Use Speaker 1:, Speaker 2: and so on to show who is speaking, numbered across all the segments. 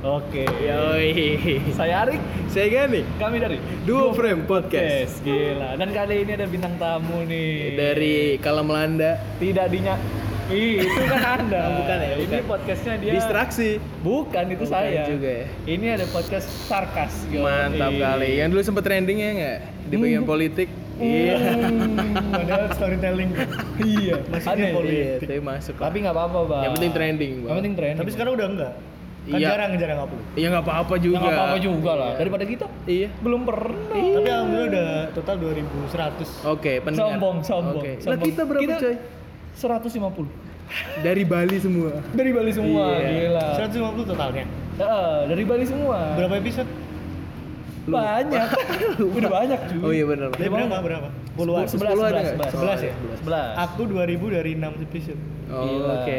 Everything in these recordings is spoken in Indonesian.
Speaker 1: Oke. ya,
Speaker 2: Yoi.
Speaker 1: Saya Arik,
Speaker 2: Saya Gani.
Speaker 1: kami dari
Speaker 2: Duo Frame
Speaker 1: Yes,
Speaker 2: Podcast.
Speaker 1: gila. Dan kali ini ada bintang tamu nih.
Speaker 2: Dari Kala Melanda.
Speaker 1: tidak dinya Ih, itu kan Anda.
Speaker 2: Oh, bukan ya,
Speaker 1: Ini
Speaker 2: bukan.
Speaker 1: podcastnya dia.
Speaker 2: Distraksi.
Speaker 1: Bukan itu
Speaker 2: Bukan
Speaker 1: saya.
Speaker 2: juga ya.
Speaker 1: Ini ada podcast sarkas. eh. Gil.
Speaker 2: Mantap
Speaker 1: Ih.
Speaker 2: kali. Yang dulu sempet trending ya nggak? Di bagian politik. Iya.
Speaker 1: Hmm, Padahal storytelling. iya.
Speaker 3: Masuknya
Speaker 1: aneh.
Speaker 3: politik.
Speaker 2: Iya, tapi masuk. lah.
Speaker 1: Tapi nggak apa-apa, Bang.
Speaker 2: Yang penting trending, Bang.
Speaker 1: Yang penting trending.
Speaker 3: Tapi sekarang udah enggak. Kan
Speaker 2: Iya.
Speaker 3: jarang jarang upload.
Speaker 2: Ya nggak apa-apa
Speaker 1: Ya,
Speaker 2: juga.
Speaker 1: nggak apa-apa juga lah. Daripada kita
Speaker 2: Iya.
Speaker 1: belum pernah.
Speaker 3: Tapi alhamdulillah udah total 2100.
Speaker 2: Oke, pendengar.
Speaker 1: Sombong, sombong,
Speaker 2: Oke. Lah,
Speaker 1: sombong.
Speaker 2: kita berapa
Speaker 1: Kita-
Speaker 2: coy?
Speaker 1: 150.
Speaker 2: Dari Bali semua.
Speaker 1: Dari Bali semua,
Speaker 2: Iya.
Speaker 1: gila.
Speaker 3: 150 totalnya.
Speaker 2: Eh.
Speaker 1: Heeh, dari Bali semua.
Speaker 3: Berapa episode?
Speaker 2: Lupa.
Speaker 1: Banyak. Udah banyak juga.
Speaker 2: Oh iya benar.
Speaker 3: Dari
Speaker 1: Berapa?
Speaker 3: berapa? Berapa? Puluhan.
Speaker 2: Sepuluh. Sepuluh ada nggak?
Speaker 3: Sebelas ya?
Speaker 2: Eh.
Speaker 1: Sebelas.
Speaker 3: Aku 2000 dari 6 episode.
Speaker 1: Gila.
Speaker 2: Oh, Oke.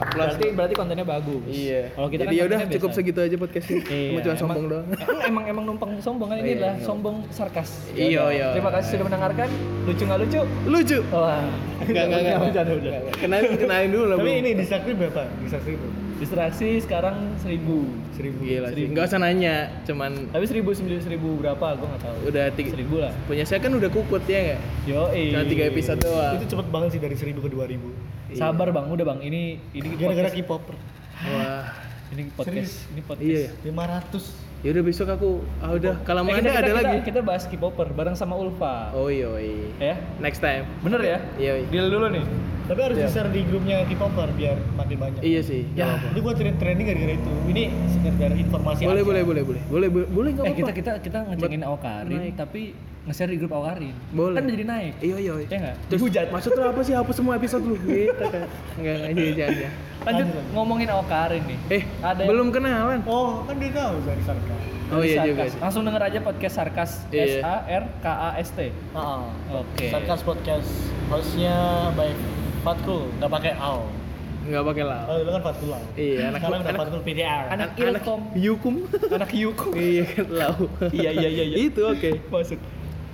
Speaker 1: Berarti berarti kontennya bagus.
Speaker 2: Iya.
Speaker 1: Kalau kita kan
Speaker 2: Jadi ya udah
Speaker 1: kontennya
Speaker 2: cukup
Speaker 1: biasa.
Speaker 2: segitu aja podcastnya. Cuma
Speaker 1: Iya,
Speaker 2: cuma
Speaker 1: emang-
Speaker 2: sombong doang.
Speaker 1: Emang- emang emang numpang sombong kan ini
Speaker 2: Iya,
Speaker 1: adalah
Speaker 2: iya.
Speaker 1: sombong sarkas. Ya
Speaker 2: Iya,
Speaker 1: udah.
Speaker 2: iya.
Speaker 1: Terima kasih sudah mendengarkan. Lucu nggak lucu?
Speaker 2: Lucu.
Speaker 1: Wah.
Speaker 2: Enggak enggak enggak.
Speaker 3: Bercanda, bercanda.
Speaker 2: Enggak, enggak. Kenalin kenalin dulu lah.
Speaker 3: Tapi
Speaker 2: Bro.
Speaker 3: ini di subscribe berapa? Di subscribe berapa?
Speaker 1: Distraksi sekarang seribu.
Speaker 3: 1000.
Speaker 2: gila sih.
Speaker 1: seribu.
Speaker 2: Enggak usah nanya, cuman
Speaker 1: Tapi seribu sembilan seribu berapa? Gue nggak tahu.
Speaker 2: udah tiga,
Speaker 1: Seribu Iya. lah.
Speaker 2: punya saya kan udah kukut ya enggak?
Speaker 1: Yo
Speaker 2: Cuma tiga episode doang.
Speaker 3: Itu cepet banget sih dari 1000 ke 2000.
Speaker 1: Sabar bang, udah bang. Ini ini
Speaker 3: Gara-gara
Speaker 1: podcast.
Speaker 2: ya?
Speaker 3: K-popper.
Speaker 2: Wah.
Speaker 1: Ini podcast.
Speaker 3: Serius?
Speaker 1: Ini podcast.
Speaker 2: Iya. ya.
Speaker 3: 500.
Speaker 2: Ya udah besok aku ah udah kalau
Speaker 1: Eh,
Speaker 2: mau
Speaker 1: kita,
Speaker 2: ada
Speaker 1: kita-
Speaker 2: ada
Speaker 1: kita-
Speaker 2: lagi.
Speaker 1: Kita bahas K-popper bareng sama Ulfa.
Speaker 2: Oh iya. iya.
Speaker 1: Ya,
Speaker 2: Next time.
Speaker 1: bener ya?
Speaker 2: Iya. iya.
Speaker 1: Deal dulu nih.
Speaker 3: Tapi harus
Speaker 2: Iya.
Speaker 3: di-share di grupnya K-popper biar makin banyak.
Speaker 2: Iya sih. nggak
Speaker 3: Ya,
Speaker 2: apa-apa.
Speaker 3: itu gua trend trending gara-gara itu. Ini sekedar informasi
Speaker 2: Boleh,
Speaker 3: aja.
Speaker 2: boleh, boleh, boleh. Boleh, boleh, boleh enggak
Speaker 1: Eh kita
Speaker 2: apa-apa.
Speaker 1: kita kita ngecengin Awkarin
Speaker 2: naik.
Speaker 1: tapi nge-share di grup Awkarin.
Speaker 2: Boleh.
Speaker 1: Kan jadi naik.
Speaker 2: Iya, iya.
Speaker 1: Iya nggak?
Speaker 2: Terus hujat. Maksud lu apa sih hapus semua episode lu? Gitu kan. Enggak, enggak jadi jadi.
Speaker 1: Lanjut
Speaker 3: Lanjut.
Speaker 1: ngomongin Awkarin nih.
Speaker 2: Eh,
Speaker 1: Ada yang-
Speaker 2: belum kenalan.
Speaker 3: Oh, kan dia tahu dari sarka.
Speaker 2: Oh
Speaker 1: Dari
Speaker 2: iya juga
Speaker 1: Sarkas.
Speaker 2: sih.
Speaker 1: Langsung denger aja podcast Sarkas
Speaker 2: Iya.
Speaker 1: S A R K A S T.
Speaker 2: Ah,
Speaker 3: Heeh.
Speaker 1: Oke.
Speaker 3: Sarkas podcast hostnya by Fatkul, nggak pakai AL.
Speaker 2: Enggak pakai lah.
Speaker 3: Kalau dulu kan Fatkul AL.
Speaker 2: Iya, anak
Speaker 3: Sekarang udah
Speaker 2: anak
Speaker 3: Fatkul PDR.
Speaker 1: Oh. Anak
Speaker 2: anak-
Speaker 1: Ilkom.
Speaker 2: Yukum.
Speaker 1: Anak Yuko.
Speaker 2: Iya kan lau.
Speaker 1: Iya, iya, iya, iya.
Speaker 2: Itu oke.
Speaker 1: Masuk.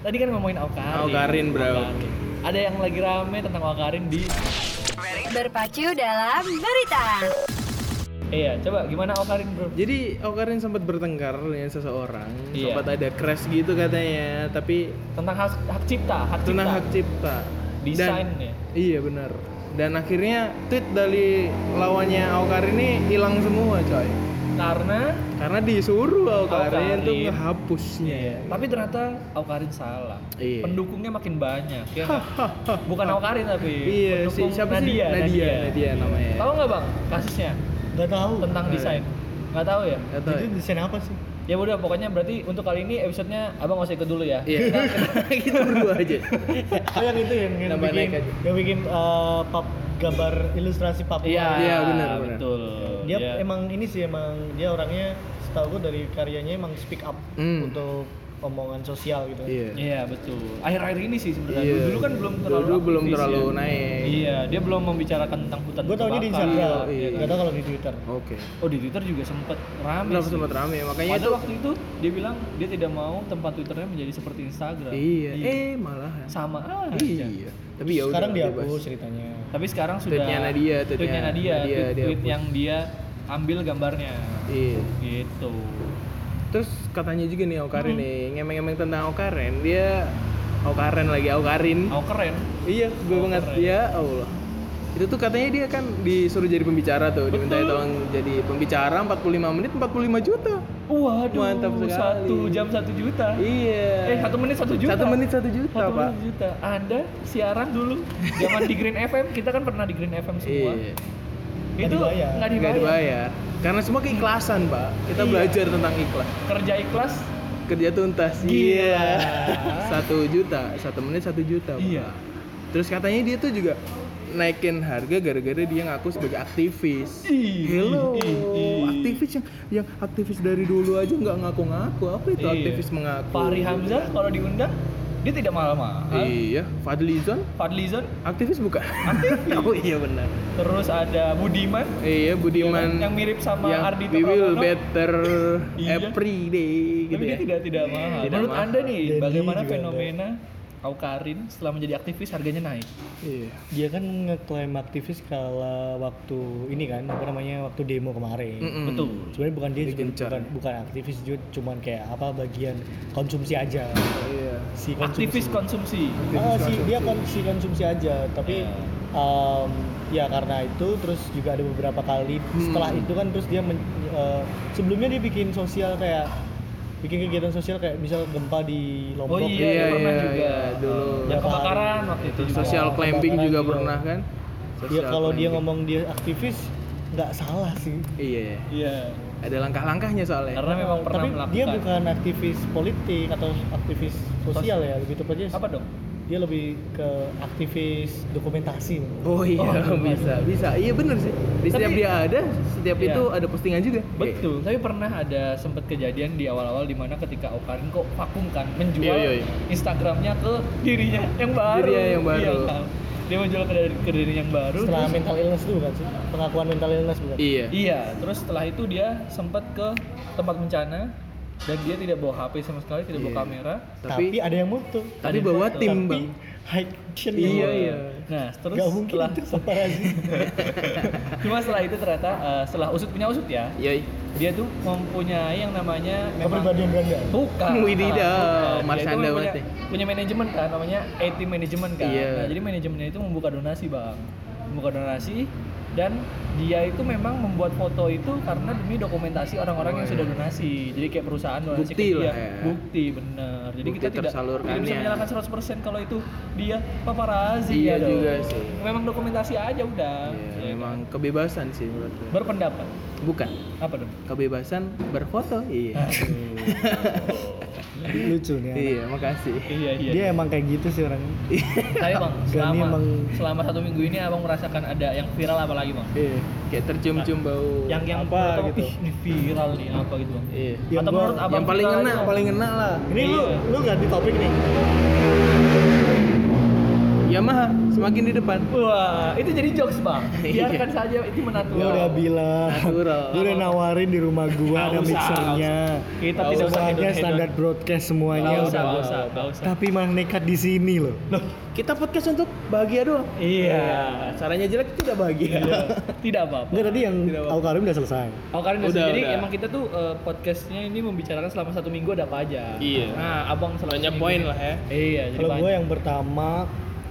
Speaker 1: Tadi kan ngomongin Awkarin.
Speaker 2: Awkarin, bro.
Speaker 1: Awkarin. Ada yang lagi rame tentang Awkarin di
Speaker 4: Berpacu dalam berita.
Speaker 1: Iya, coba gimana Awkarin, Bro?
Speaker 2: Jadi Okarin sempat bertengkar dengan seseorang,
Speaker 1: Iya.
Speaker 2: sempat ada crash gitu katanya, tapi
Speaker 1: Tentang hak, hak cipta, hak cipta.
Speaker 2: tentang hak cipta.
Speaker 1: Desain
Speaker 2: Dan-
Speaker 1: ya.
Speaker 2: Iya benar. Dan akhirnya tweet dari lawannya Aukarin ini hilang semua, coy.
Speaker 1: Karena
Speaker 2: Karena disuruh Aukarin tuh
Speaker 1: Awkarin.
Speaker 2: ngehapusnya.
Speaker 1: Tapi ternyata Awkarin salah.
Speaker 2: Iya.
Speaker 1: Pendukungnya makin banyak ya. nggak? Bukan Awkarin tapi
Speaker 2: Iya
Speaker 1: pendukung
Speaker 2: sih, siapa sih?
Speaker 1: Nadia,
Speaker 2: Nadia, Nadia namanya.
Speaker 1: Tahu nggak bang kasusnya
Speaker 3: Nggak tahu.
Speaker 1: tentang
Speaker 2: Nggak.
Speaker 1: desain? Nggak tahu ya.
Speaker 2: Nggak tahu
Speaker 3: Jadi
Speaker 2: ya?
Speaker 3: desain apa sih?
Speaker 1: Ya udah pokoknya berarti untuk kali ini episodenya abang nggak usah ikut dulu ya.
Speaker 2: Iya. Kita berdua aja.
Speaker 3: Oh yang itu yang, yang
Speaker 2: Nambah
Speaker 3: bikin,
Speaker 2: naik aja.
Speaker 3: yang bikin eh, pap gambar ilustrasi pap.
Speaker 1: Iya.
Speaker 2: Iya, benar, benar.
Speaker 1: Betul. Iya.
Speaker 3: Dia emang ini sih emang dia orangnya setahu gue dari karyanya emang speak up
Speaker 2: Hmm.
Speaker 3: untuk omongan sosial gitu.
Speaker 2: Iya.
Speaker 1: Iya betul. Akhir-akhir ini sih sebenarnya.
Speaker 2: Iya.
Speaker 1: Dulu kan belum terlalu.
Speaker 2: Dulu belum
Speaker 1: aktivis
Speaker 2: terlalu
Speaker 1: ya.
Speaker 2: naik.
Speaker 1: Iya, dia belum membicarakan tentang hutan.
Speaker 3: Gue taunya di
Speaker 1: kebakar.
Speaker 3: Instagram,
Speaker 2: Iya, iya.
Speaker 3: nggak tahu kalau di Twitter.
Speaker 2: Oke.
Speaker 1: Oh di Twitter juga sempet rame.
Speaker 2: Belum
Speaker 1: sih.
Speaker 2: sempat rame, makanya
Speaker 1: Padahal
Speaker 2: itu
Speaker 1: waktu itu dia bilang dia tidak mau tempat Twitternya menjadi seperti Instagram.
Speaker 2: Iya. Eh, malahan.
Speaker 1: Sama aja.
Speaker 2: Iya. Tapi ya udah.
Speaker 3: Sekarang
Speaker 2: bebas.
Speaker 3: dihapus ceritanya.
Speaker 1: Tapi sekarang sudah
Speaker 2: Tweetnya Nadia, tweetnya-
Speaker 1: tweetnya Nadia,
Speaker 2: Nadia,
Speaker 1: tweet,
Speaker 2: dia
Speaker 1: tweet
Speaker 2: hapus.
Speaker 1: yang dia ambil gambarnya.
Speaker 2: Iya.
Speaker 1: Gitu.
Speaker 2: Terus katanya juga nih Aukarin
Speaker 1: Hmm.
Speaker 2: nih, ngemeng-ngemeng tentang Aukarin, dia Aukarin lagi Aukarin.
Speaker 1: Oh keren.
Speaker 2: Iya, gue banget.
Speaker 1: keren.
Speaker 2: Ya Allah. Itu tuh katanya dia kan disuruh jadi pembicara tuh,
Speaker 1: Betul.
Speaker 2: diminta tolong jadi pembicara 45 menit 45 juta.
Speaker 1: Waduh,
Speaker 2: Mantap sekali.
Speaker 1: satu jam satu juta.
Speaker 2: Iya.
Speaker 1: Eh satu menit satu juta.
Speaker 2: Satu menit satu juta,
Speaker 1: Satu
Speaker 2: Pak.
Speaker 1: menit juta. Anda siaran dulu zaman di Green FM, kita kan pernah di Green FM semua.
Speaker 2: Iya.
Speaker 3: Nggak
Speaker 1: Itu
Speaker 3: dibayar.
Speaker 1: nggak
Speaker 2: Nggak
Speaker 1: dibayar.
Speaker 2: dibayar. Karena semua keikhlasan, Pak. Kita
Speaker 1: Iya.
Speaker 2: belajar tentang ikhlas.
Speaker 1: Kerja ikhlas.
Speaker 2: Kerja tuntas. Iya.
Speaker 1: Gila.
Speaker 2: Satu juta, satu menit satu juta, Pak.
Speaker 1: Iya.
Speaker 2: Terus katanya dia tuh juga naikin harga gara-gara dia ngaku sebagai aktivis.
Speaker 1: Ih,
Speaker 2: Hello,
Speaker 1: ih, ih.
Speaker 2: aktivis yang yang aktivis dari dulu aja nggak ngaku-ngaku. Apa itu
Speaker 1: Iya.
Speaker 2: aktivis mengaku?
Speaker 1: Fahri Hamzah kalau diundang dia tidak mahal-mahal.
Speaker 2: Iya, Fadlizon
Speaker 1: Fadlizon,
Speaker 2: aktivis bukan? oh iya benar.
Speaker 1: terus ada Budiman
Speaker 2: Iya, Budiman
Speaker 1: yang mirip sama
Speaker 2: yang
Speaker 1: Ardhito
Speaker 2: we will
Speaker 1: Pramono.
Speaker 2: better
Speaker 1: Iya.
Speaker 2: every day
Speaker 1: tapi
Speaker 2: gitu
Speaker 1: dia
Speaker 2: ya.
Speaker 1: tidak tidak mahal.
Speaker 2: Tidak
Speaker 1: Menurut
Speaker 2: mahal.
Speaker 1: Anda nih
Speaker 3: Dendi
Speaker 1: bagaimana
Speaker 3: juga ada.
Speaker 1: fenomena Aukarin setelah menjadi aktivis harganya naik.
Speaker 2: Iya.
Speaker 3: Dia kan ngeklaim aktivis kala waktu ini kan apa namanya waktu demo kemarin.
Speaker 2: Mm-mm.
Speaker 1: Betul.
Speaker 3: Sebenarnya bukan dia juga-
Speaker 2: Digencar.
Speaker 3: bukan, bukan aktivis juga cuman kayak apa bagian konsumsi aja.
Speaker 2: Iya.
Speaker 3: Si
Speaker 1: Aktivis konsumsi.
Speaker 3: Ah,
Speaker 2: Aktivis
Speaker 3: si- dia konsumsi konsumsi aja, tapi
Speaker 1: Ya.
Speaker 3: em, ya karena itu terus juga ada beberapa kali
Speaker 1: Hmm.
Speaker 3: setelah itu kan terus dia men- eh, sebelumnya dia bikin sosial kayak bikin kegiatan sosial kayak misal gempa di
Speaker 1: Oh
Speaker 3: Lombok.
Speaker 1: iya,
Speaker 2: Iya,
Speaker 1: pernah
Speaker 2: iya,
Speaker 1: juga.
Speaker 2: iya, dulu.
Speaker 1: Yang kebakaran waktu itu. juga.
Speaker 2: Social
Speaker 3: Iya,
Speaker 2: clamping
Speaker 3: kebakaran
Speaker 2: juga
Speaker 3: juga.
Speaker 2: pernah kan?
Speaker 3: Ya
Speaker 2: Social
Speaker 3: kalau dia
Speaker 1: gitu.
Speaker 2: clamping.
Speaker 3: ngomong dia aktivis nggak salah sih.
Speaker 2: Iya, iya.
Speaker 3: Iya.
Speaker 2: Ada langkah-langkahnya soalnya.
Speaker 1: Karena memang pernah
Speaker 3: Tapi
Speaker 1: melakukan.
Speaker 3: dia bukan aktivis politik atau aktivis sosial ya, lebih tepatnya
Speaker 1: apa dong?
Speaker 3: dia lebih ke aktivis dokumentasi.
Speaker 2: Oh iya,
Speaker 1: Oh,
Speaker 2: bisa, bisa. Iya bener sih. Di setiap
Speaker 1: Tapi-
Speaker 2: dia ada, setiap
Speaker 1: Iya.
Speaker 2: itu ada postingan juga.
Speaker 1: Betul, tapi pernah ada sempat kejadian di awal-awal dimana ketika Okarin kok vakum kan menjual
Speaker 2: Iya, iya, iya.
Speaker 1: Instagramnya ke dirinya yang baru.
Speaker 2: Dirinya yang baru.
Speaker 1: Iya, kan? Dia menjual ke, ke dirinya yang baru.
Speaker 3: Setelah
Speaker 1: terus-
Speaker 3: mental illness itu bukan sih? Pengakuan mental illness bukan?
Speaker 2: Iya.
Speaker 1: Iya, terus setelah itu dia sempat ke tempat bencana dan dia tidak bawa HP sama sekali, tidak bawa
Speaker 2: Iya.
Speaker 1: kamera.
Speaker 2: Tapi
Speaker 3: Tapi, ada yang mutu.
Speaker 1: Ada
Speaker 2: tapi bawa
Speaker 1: foto.
Speaker 2: tim,
Speaker 3: Tapi
Speaker 2: Bang.
Speaker 3: high action
Speaker 2: Iya,
Speaker 3: yang-
Speaker 2: iya.
Speaker 1: Nah, terus
Speaker 3: nggak mungkin
Speaker 1: setelah
Speaker 3: itu separasi.
Speaker 1: cuma setelah itu ternyata eh, setelah usut punya usut ya,
Speaker 2: Yoi.
Speaker 1: dia tuh mempunyai yang namanya memang
Speaker 3: Kepribadian ganda.
Speaker 1: bukan.
Speaker 2: Wididaw,
Speaker 1: bukan. Dia itu
Speaker 2: Marshanda
Speaker 1: memang punya,
Speaker 2: banget ya.
Speaker 1: punya manajemen kan namanya AT manajemen kan.
Speaker 2: Iya.
Speaker 1: Nah, jadi manajemennya itu membuka donasi, Bang. Membuka donasi dan dia itu memang membuat foto itu karena demi dokumentasi orang-orang yang
Speaker 2: Oh, iya.
Speaker 1: sudah donasi. Jadi kayak perusahaan donasi ke
Speaker 2: Bukti
Speaker 1: dia.
Speaker 2: lah ya.
Speaker 1: Bukti bener. Jadi
Speaker 2: Bukti
Speaker 1: kita tidak,
Speaker 2: tersalurkan
Speaker 1: tidak bisa
Speaker 2: ya.
Speaker 1: menyalahkan 100% kalau itu dia paparazi
Speaker 2: Iya
Speaker 1: ya dong.
Speaker 2: juga sih.
Speaker 1: Memang dokumentasi aja udah.
Speaker 2: Iya,
Speaker 1: Ya
Speaker 2: memang
Speaker 1: kan?
Speaker 2: kebebasan sih menurut gue.
Speaker 1: berpendapat.
Speaker 2: Bukan
Speaker 1: Apa dong?
Speaker 2: kebebasan berfoto.
Speaker 3: Ah,
Speaker 2: Iya.
Speaker 3: Lucu nih. anak.
Speaker 2: iya, makasih.
Speaker 1: Iya iya.
Speaker 3: Dia emang kayak gitu sih orang.
Speaker 1: Tapi bang,
Speaker 3: Gani
Speaker 1: selama,
Speaker 3: emang-
Speaker 1: selama satu minggu ini abang merasakan ada yang viral apa lagi bang?
Speaker 2: Iya, kayak tercium-cium bau.
Speaker 1: Yang yang
Speaker 3: Apa
Speaker 1: menurut abang,
Speaker 3: gitu?
Speaker 1: "Ih, ini viral nih apa gitu bang?
Speaker 2: Iya.
Speaker 3: Yang
Speaker 1: Atau
Speaker 3: gua-
Speaker 1: menurut abang
Speaker 2: yang paling
Speaker 1: viral
Speaker 2: ngena,
Speaker 1: aja, Bang?
Speaker 2: paling ngena lah.
Speaker 3: Ini lu
Speaker 1: Iya.
Speaker 3: lu ganti topik nih.
Speaker 2: Yamaha semakin di depan.
Speaker 1: Wah, itu jadi jokes bang.
Speaker 2: Iya.
Speaker 1: Biarkan saja itu menatural.
Speaker 3: Dia udah bilang.
Speaker 2: Natural.
Speaker 3: Dia udah nawarin di rumah gua ada
Speaker 1: Nggak usah,
Speaker 3: mixernya.
Speaker 1: Kita
Speaker 2: Nggak
Speaker 1: tidak usah
Speaker 3: Semuanya
Speaker 1: hedon-hedon.
Speaker 3: standar broadcast
Speaker 1: Nggak
Speaker 3: semuanya
Speaker 1: usah,
Speaker 3: udah.
Speaker 1: nggak usah, nggak usah.
Speaker 3: Tapi malah nekat di sini loh.
Speaker 2: Kita podcast untuk bahagia doang.
Speaker 1: Iya.
Speaker 2: Caranya jelek itu tidak bahagia.
Speaker 1: Tidak apa-apa.
Speaker 3: Enggak tadi yang
Speaker 2: Tidak apa-apa.
Speaker 3: Aku Karim udah selesai.
Speaker 1: Oh karena udah,
Speaker 2: Udah,
Speaker 1: jadi
Speaker 2: udah.
Speaker 1: emang kita tuh eh, podcastnya ini membicarakan selama satu minggu ada apa aja.
Speaker 2: Iya.
Speaker 1: Nah, abang selama
Speaker 2: Banyak
Speaker 1: seminggu
Speaker 2: poin
Speaker 1: ini-
Speaker 2: lah ya.
Speaker 1: Iya, jadi
Speaker 3: Kalau
Speaker 1: banyak.
Speaker 3: gua yang pertama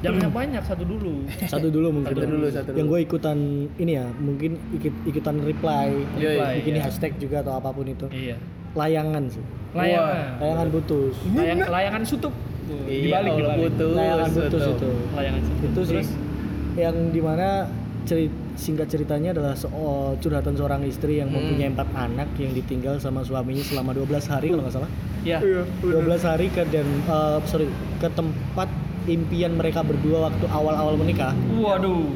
Speaker 1: Jangan yang banyak satu dulu.
Speaker 3: satu dulu mungkin
Speaker 2: Satu
Speaker 3: ya.
Speaker 2: dulu, satu
Speaker 3: yang
Speaker 2: dulu.
Speaker 3: gue ikutan ini ya mungkin ikut ikutan reply
Speaker 2: Iya, iya.
Speaker 1: Reply,
Speaker 3: bikin
Speaker 1: iya.
Speaker 3: hashtag juga atau apapun itu
Speaker 1: Iya.
Speaker 3: layangan sih
Speaker 1: Layangan.
Speaker 3: layangan putus
Speaker 1: Layang, layangan sutup. Tuh,
Speaker 2: Iya,
Speaker 1: dibalik,
Speaker 2: kalau
Speaker 1: dibalik.
Speaker 2: putus.
Speaker 3: layangan putus
Speaker 2: betul.
Speaker 3: itu
Speaker 1: Layangan sutup.
Speaker 3: itu sih
Speaker 1: Terus,
Speaker 3: yang dimana cerit singkat ceritanya adalah soal curhatan seorang istri
Speaker 2: Hmm.
Speaker 3: yang mempunyai empat anak yang ditinggal sama suaminya selama 12 hari kalau nggak salah
Speaker 1: ya.
Speaker 2: Iya.
Speaker 3: 12 hari ke dan eh, sorry ke tempat impian mereka berdua waktu awal-awal menikah
Speaker 1: Waduh.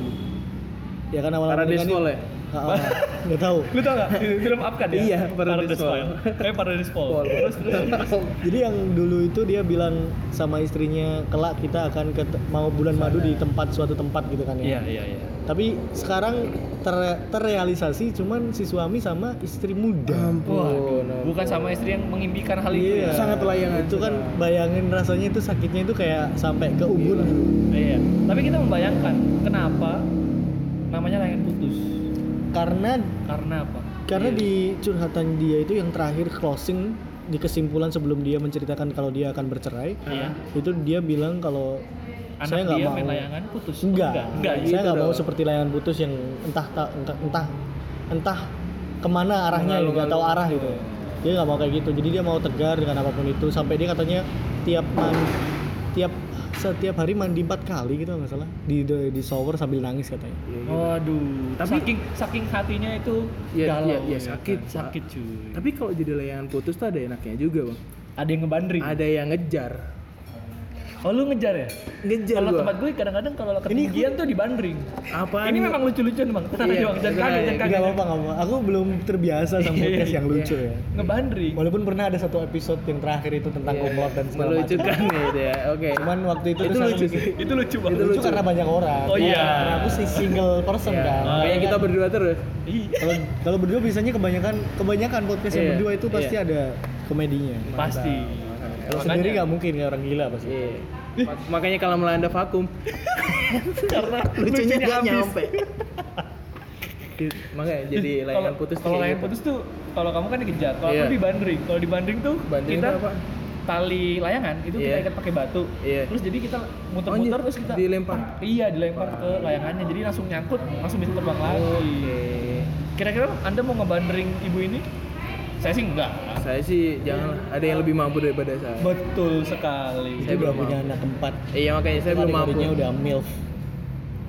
Speaker 3: ya kan awal-awal menikah
Speaker 2: Paradise
Speaker 3: nih-
Speaker 2: Fall ya?
Speaker 3: Ah, ah, nggak tahu
Speaker 1: Lu tau gak? Film up kan ya?
Speaker 2: Iya, Paradise Fall.
Speaker 1: Eh, Paradise Fall.
Speaker 2: Fall.
Speaker 1: Terus, terus.
Speaker 3: Jadi yang dulu itu dia bilang sama istrinya kelak kita akan ke mau bulan madu di tempat suatu tempat gitu kan
Speaker 1: Iya,
Speaker 3: ya.
Speaker 1: iya, iya.
Speaker 3: Tapi sekarang ter- terrealisasi cuman si suami sama istri
Speaker 2: Hmm. Oh,
Speaker 3: muda.
Speaker 1: Waduh,
Speaker 2: Ampun,
Speaker 1: bukan
Speaker 2: ampun.
Speaker 1: sama istri yang mengimpikan hal itu ya?
Speaker 3: Iya.
Speaker 2: Sangat layangan.
Speaker 3: Itu kan bayangin rasanya itu sakitnya itu kayak sampai ke ubun.
Speaker 2: Oh, Gila.
Speaker 1: Iya. Tapi kita membayangkan, kenapa namanya layangan putus?
Speaker 3: Karena
Speaker 1: Karena apa? Iya.
Speaker 3: karena di curhatan dia itu yang terakhir closing di kesimpulan sebelum dia menceritakan kalau dia akan bercerai
Speaker 1: Iya.
Speaker 3: itu dia bilang kalau
Speaker 1: Anak
Speaker 3: saya nggak
Speaker 1: dia
Speaker 3: mau
Speaker 1: main layangan putus.
Speaker 3: Enggak,
Speaker 1: Enggak,
Speaker 3: saya
Speaker 1: gitu
Speaker 3: nggak mau
Speaker 1: dong.
Speaker 3: seperti layangan putus yang entah ta- entah entah, entah kemana arahnya
Speaker 2: Mengalung-alung.
Speaker 3: nggak tahu arah gitu.
Speaker 1: Iya.
Speaker 3: Dia nggak mau kayak gitu. Jadi dia mau tegar dengan apapun itu sampai dia katanya tiap man- tiap setiap hari mandi empat kali gitu nggak salah di, di di shower sambil nangis katanya.
Speaker 2: Oh,
Speaker 1: Waduh, tapi
Speaker 2: Tapi-
Speaker 1: saking saking hatinya itu
Speaker 2: Iya,
Speaker 1: galau
Speaker 2: iya, iya,
Speaker 1: ya
Speaker 2: sakit,
Speaker 1: kan?
Speaker 2: Pak.
Speaker 1: sakit cuy.
Speaker 2: Tapi kalau jadi layangan putus tuh ada enaknya juga, Bang.
Speaker 1: ada yang ngebandring.
Speaker 2: Ada yang ngejar.
Speaker 1: Oh lu ngejar ya? Kalau
Speaker 2: Ngejar Iya, gua.
Speaker 1: tempat gue kadang-kadang kalau ketinggian tuh dibandring.
Speaker 2: Apaan?
Speaker 1: Ini memang lucu-lucuan bang. Tenang
Speaker 2: Iya,
Speaker 1: aja bang, jangan
Speaker 2: tenang
Speaker 1: kaget,
Speaker 2: aja.
Speaker 1: jangan
Speaker 3: Enggak
Speaker 1: kaget.
Speaker 3: apa-apa, nggak apa-apa. Aku belum terbiasa sama podcast yang lucu ya.
Speaker 1: Ngebandring.
Speaker 3: Walaupun pernah ada satu episode yang terakhir itu tentang
Speaker 2: Iya,
Speaker 3: komplot dan segala macam.
Speaker 2: melucukan ya itu ya. Oke.
Speaker 3: Cuman waktu itu,
Speaker 2: Itu
Speaker 3: terus aku
Speaker 2: lucu
Speaker 3: mikir,
Speaker 2: sih.
Speaker 1: Itu lucu bang.
Speaker 3: Itu lucu karena banyak orang.
Speaker 1: Oh iya.
Speaker 3: Karena aku sih single person
Speaker 2: Iya,
Speaker 3: kan.
Speaker 2: Kayak
Speaker 3: Makanya
Speaker 2: kita
Speaker 3: kan-
Speaker 2: berdua terus.
Speaker 1: Iya.
Speaker 3: kalau kalau berdua biasanya kebanyakan kebanyakan podcast yang
Speaker 2: Iya,
Speaker 3: berdua itu pasti
Speaker 2: iya.
Speaker 3: ada komedinya.
Speaker 1: Pasti.
Speaker 2: Mantap.
Speaker 3: Kalau
Speaker 1: Makanya.
Speaker 3: sendiri nggak mungkin kayak orang gila pasti.
Speaker 2: Iya. Ma- Makanya kalau melanda vakum,
Speaker 1: karena
Speaker 3: lucunya nggak
Speaker 1: habis.
Speaker 3: nyampe
Speaker 2: di- makanya jadi layanan
Speaker 1: Kalau
Speaker 2: putus tuh
Speaker 1: kalau
Speaker 2: kayak
Speaker 1: layan
Speaker 2: gitu.
Speaker 1: putus tuh kalau kamu kan dikejar, kalau
Speaker 2: Iya.
Speaker 1: aku dibandring. Kalau dibandring tuh
Speaker 2: Banding
Speaker 1: kita
Speaker 2: itu apa?
Speaker 1: tali layangan itu kita
Speaker 2: Iya.
Speaker 1: ikat pakai batu.
Speaker 2: Iya.
Speaker 1: Terus jadi kita
Speaker 2: Anjir,
Speaker 1: muter-muter terus kita
Speaker 2: dilempar.
Speaker 1: Iya, dilempar ke layangannya. Jadi langsung nyangkut, langsung bisa terbang lagi.
Speaker 2: Oke.
Speaker 1: Kira-kira Anda mau ngebandering ibu ini? Saya sih enggak.
Speaker 2: Saya sih jangan ada yang lebih mampu daripada saya.
Speaker 1: Betul sekali.
Speaker 3: Jadi
Speaker 2: Saya
Speaker 3: udah
Speaker 2: belum
Speaker 3: punya
Speaker 2: mampu.
Speaker 3: anak keempat
Speaker 2: Iya makanya saya belum mampu.
Speaker 3: Kategorinya udah milf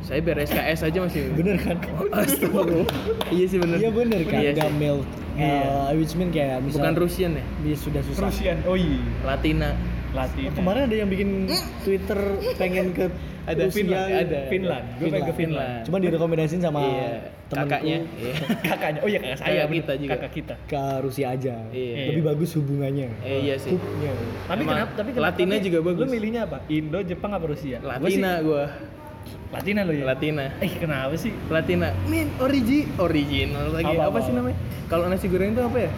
Speaker 2: Saya beres KS aja masih.
Speaker 3: bener kan
Speaker 2: Astagfirullah. iya sih bener.
Speaker 3: iya bener kan
Speaker 2: Iya
Speaker 3: udah
Speaker 2: sih. Iya.
Speaker 3: milf Eh, which mean kayak bisa
Speaker 2: Bukan Rusian ya?
Speaker 3: dia sudah susah Oh,
Speaker 1: Rusian. Oh iya.
Speaker 2: Latina. Oh,
Speaker 1: Latin.
Speaker 3: kemarin ada yang bikin Twitter pengen ke
Speaker 2: Ada gitu.
Speaker 3: Rusia.
Speaker 2: Finland, ada.
Speaker 1: Finland. Gue pengen ke Finland.
Speaker 3: Cuman direkomendasiin sama
Speaker 2: Iya.
Speaker 3: temanku
Speaker 2: Kakaknya. Iya.
Speaker 1: Kakaknya. Oh iya, kakak saya.
Speaker 2: Kakak
Speaker 1: bener.
Speaker 2: kita juga.
Speaker 1: Kakak kita.
Speaker 3: ke Rusia aja.
Speaker 2: Iya.
Speaker 3: Lebih bagus hubungannya.
Speaker 2: Eh, iya sih.
Speaker 3: Hubnya.
Speaker 1: Tapi
Speaker 2: Emang
Speaker 1: kenapa? Tapi kenapa-
Speaker 2: Latina
Speaker 1: tapi
Speaker 2: juga bagus.
Speaker 1: Lu milihnya apa? Indo, Jepang apa Rusia? Gua sih
Speaker 2: Latina gua.
Speaker 1: Latina lo ya.
Speaker 2: Latina.
Speaker 1: Eh kenapa sih?
Speaker 2: Latina. Min origi original lagi.
Speaker 1: Apa,
Speaker 2: Apa,
Speaker 1: apa,
Speaker 2: sih
Speaker 1: apa?
Speaker 2: namanya? Kalau nasi goreng itu apa ya?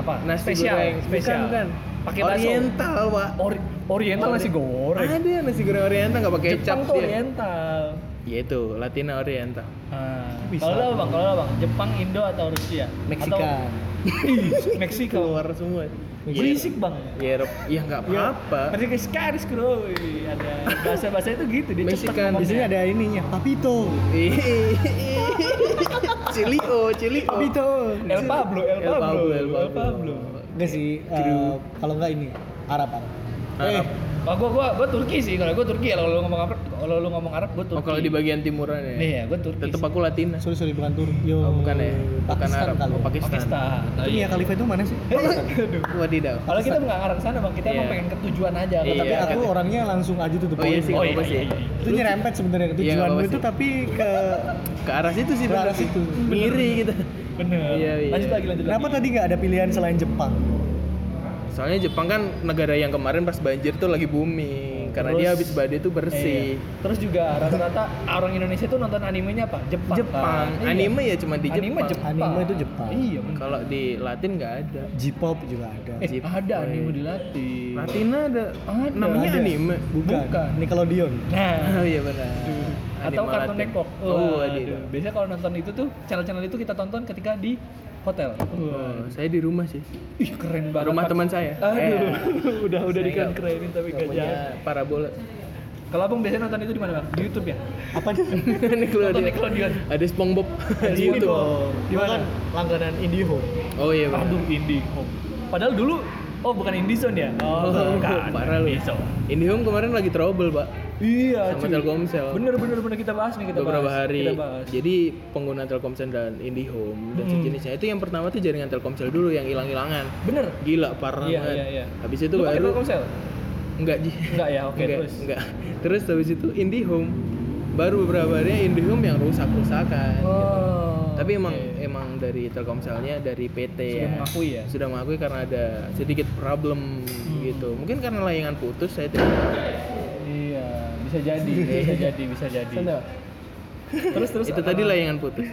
Speaker 1: Apa?
Speaker 2: Nasi
Speaker 1: spesial,
Speaker 2: goreng.
Speaker 1: spesial.
Speaker 2: Bukan, bukan.
Speaker 1: Pakai bakso.
Speaker 2: oriental, Pak.
Speaker 1: Ori- oriental nasi goreng.
Speaker 2: Ada nasi goreng oriental enggak pakai
Speaker 1: Jepang
Speaker 2: Ah, kecap
Speaker 1: tuh
Speaker 2: dia.
Speaker 1: oriental.
Speaker 2: Ya itu, Latina oriental.
Speaker 1: Ah,
Speaker 3: Bisa.
Speaker 1: kalau lo bang, kalau lo bang, Jepang, Indo atau Rusia?
Speaker 3: Meksikan.
Speaker 1: Atau Meksiko.
Speaker 2: Keluar
Speaker 1: Iya.
Speaker 2: semua.
Speaker 1: Berisik bang.
Speaker 2: Europe. Ya enggak
Speaker 1: Iya.
Speaker 2: apa-apa.
Speaker 1: Mereka sekaris bro. Ada bahasa bahasa itu gitu. Dia cepet
Speaker 2: Meksikan.
Speaker 1: ngomongnya.
Speaker 3: Biasanya ada ininya, papito.
Speaker 2: Cilio, Cilio.
Speaker 3: Papito.
Speaker 1: El Pablo, El
Speaker 2: Oh, El
Speaker 1: Pablo,
Speaker 2: Pablo, El Pablo.
Speaker 3: Enggak sih, eh, kalau enggak ini Arab Arab.
Speaker 2: Arab.
Speaker 1: Wah, gua gua gua Turki sih. Kalau gua Turki, ya, kalau lu ngomong Arab, kalau lu ngomong Arab, gua Turki.
Speaker 2: Oh, kalau di bagian timuran ya.
Speaker 1: Iya, gua Turki.
Speaker 2: Tetap
Speaker 1: sih.
Speaker 2: aku Latina.
Speaker 3: Eh, sorry sorry bukan Tur. Yo.
Speaker 2: Oh, bukan ya. Bukan
Speaker 3: Pakistan
Speaker 2: Arab,
Speaker 3: kali.
Speaker 2: oh, iya. Pakistan.
Speaker 1: Pakistan. Oh,
Speaker 3: Itu Mia Khalifa itu mana sih?
Speaker 1: Aduh.
Speaker 2: Wadidaw.
Speaker 1: Kalau kita nggak ngarang sana bang, kita emang
Speaker 2: Iya.
Speaker 1: pengen ke tujuan aja.
Speaker 2: Iya.
Speaker 3: Tapi aku
Speaker 2: kan.
Speaker 3: orangnya langsung aja tuh
Speaker 2: Oh iya sih,
Speaker 1: Oh,
Speaker 2: nggak apa
Speaker 1: iya,
Speaker 2: sih.
Speaker 1: iya, iya.
Speaker 3: Itu nyerempet sebenarnya
Speaker 2: Iya,
Speaker 3: tujuan
Speaker 2: nggak apa
Speaker 3: itu
Speaker 2: sih.
Speaker 3: tapi ke
Speaker 2: Ke arah situ sih
Speaker 3: Ke
Speaker 2: bener
Speaker 3: arah
Speaker 2: sih.
Speaker 3: situ.
Speaker 2: Ngiri kita.
Speaker 1: Bener.
Speaker 2: Iya, iya.
Speaker 1: Lanjut lagi lanjut
Speaker 3: Kenapa
Speaker 1: lagi.
Speaker 3: tadi nggak ada pilihan selain Jepang?
Speaker 2: Soalnya Jepang kan negara yang kemarin pas banjir tuh lagi booming karena
Speaker 1: Terus-
Speaker 2: dia habis badai tuh bersih.
Speaker 1: Iya. Terus juga rata-rata orang Indonesia tuh nonton animenya apa? Jepang.
Speaker 2: Jepang,
Speaker 1: kan? Iya.
Speaker 2: anime ya cuma di
Speaker 1: Anime
Speaker 2: Jepang.
Speaker 1: Jepang.
Speaker 3: Anime itu Jepang.
Speaker 1: Iya. bener.
Speaker 2: Kalau di Latin nggak ada.
Speaker 3: J-pop juga ada.
Speaker 1: Eh,
Speaker 2: Jepang.
Speaker 1: ada anime di Latin.
Speaker 2: Latina ada.
Speaker 1: Ada.
Speaker 2: namanya
Speaker 3: Ada.
Speaker 2: anime.
Speaker 3: Bukan.
Speaker 1: Bukan.
Speaker 3: Nickelodeon.
Speaker 1: Nah.
Speaker 2: Oh iya benar.
Speaker 1: Atau
Speaker 2: Anime
Speaker 1: kartun
Speaker 2: Latin.
Speaker 1: Network.
Speaker 2: Oh,
Speaker 1: Waduh.
Speaker 2: ada.
Speaker 1: Biasanya kalau nonton itu tuh channel-channel itu kita tonton ketika di hotel.
Speaker 2: Oh, saya di rumah sih.
Speaker 1: Ih keren banget.
Speaker 2: Rumah
Speaker 1: Pak.
Speaker 2: teman saya.
Speaker 1: Aduh,
Speaker 2: Eh,
Speaker 1: udah udah
Speaker 2: Saya
Speaker 1: dikeren
Speaker 2: nggak-
Speaker 1: kerenin tapi
Speaker 2: nggak
Speaker 1: gak
Speaker 2: punya
Speaker 1: jalan.
Speaker 2: parabola.
Speaker 1: Kalau abang biasanya nonton itu di mana bang? Di YouTube ya?
Speaker 3: Apa sih?
Speaker 1: Nonton
Speaker 2: Nickelodeon.
Speaker 1: Nickelodeon.
Speaker 2: Ada SpongeBob di YouTube.
Speaker 1: Di mana?
Speaker 3: langganan IndiHome.
Speaker 2: Oh iya benar.
Speaker 1: Aduh IndiHome. Padahal dulu oh bukan IndiZone ya?
Speaker 2: Oh,
Speaker 1: bukan.
Speaker 2: parah lu.
Speaker 1: IndiZone.
Speaker 2: Indihome kemarin lagi trouble, Pak.
Speaker 1: Iya,
Speaker 2: Sama
Speaker 1: cuy.
Speaker 2: Telkomsel.
Speaker 1: Bener bener bener kita bahas nih kita
Speaker 2: beberapa
Speaker 1: bahas.
Speaker 2: hari.
Speaker 1: Kita bahas.
Speaker 2: Jadi pengguna Telkomsel dan Indihome dan
Speaker 1: Hmm.
Speaker 2: sejenisnya itu yang pertama tuh jaringan Telkomsel dulu yang hilang-hilangan.
Speaker 1: bener.
Speaker 2: Gila parah
Speaker 1: Iya,
Speaker 2: banget.
Speaker 1: iya, iya.
Speaker 2: Habis itu
Speaker 1: Lu pakai
Speaker 2: baru
Speaker 1: Telkomsel?
Speaker 2: enggak Ji.
Speaker 1: Enggak ya, oke
Speaker 2: enggak,
Speaker 1: terus.
Speaker 2: enggak. Terus habis itu Indihome baru beberapa hari Indihome yang rusak-rusakan. gitu.
Speaker 1: Oh.
Speaker 2: Tapi emang eh,
Speaker 1: oke.
Speaker 2: emang dari Telkomselnya dari PT
Speaker 1: sudah
Speaker 2: ya.
Speaker 1: mengakui ya. Hmm.
Speaker 2: Sudah mengakui karena ada sedikit problem gitu. Mungkin karena layangan putus saya tidak
Speaker 1: Iya, bisa jadi, bisa jadi, bisa jadi. Terus terus Oh.
Speaker 2: itu tadi layangan putus.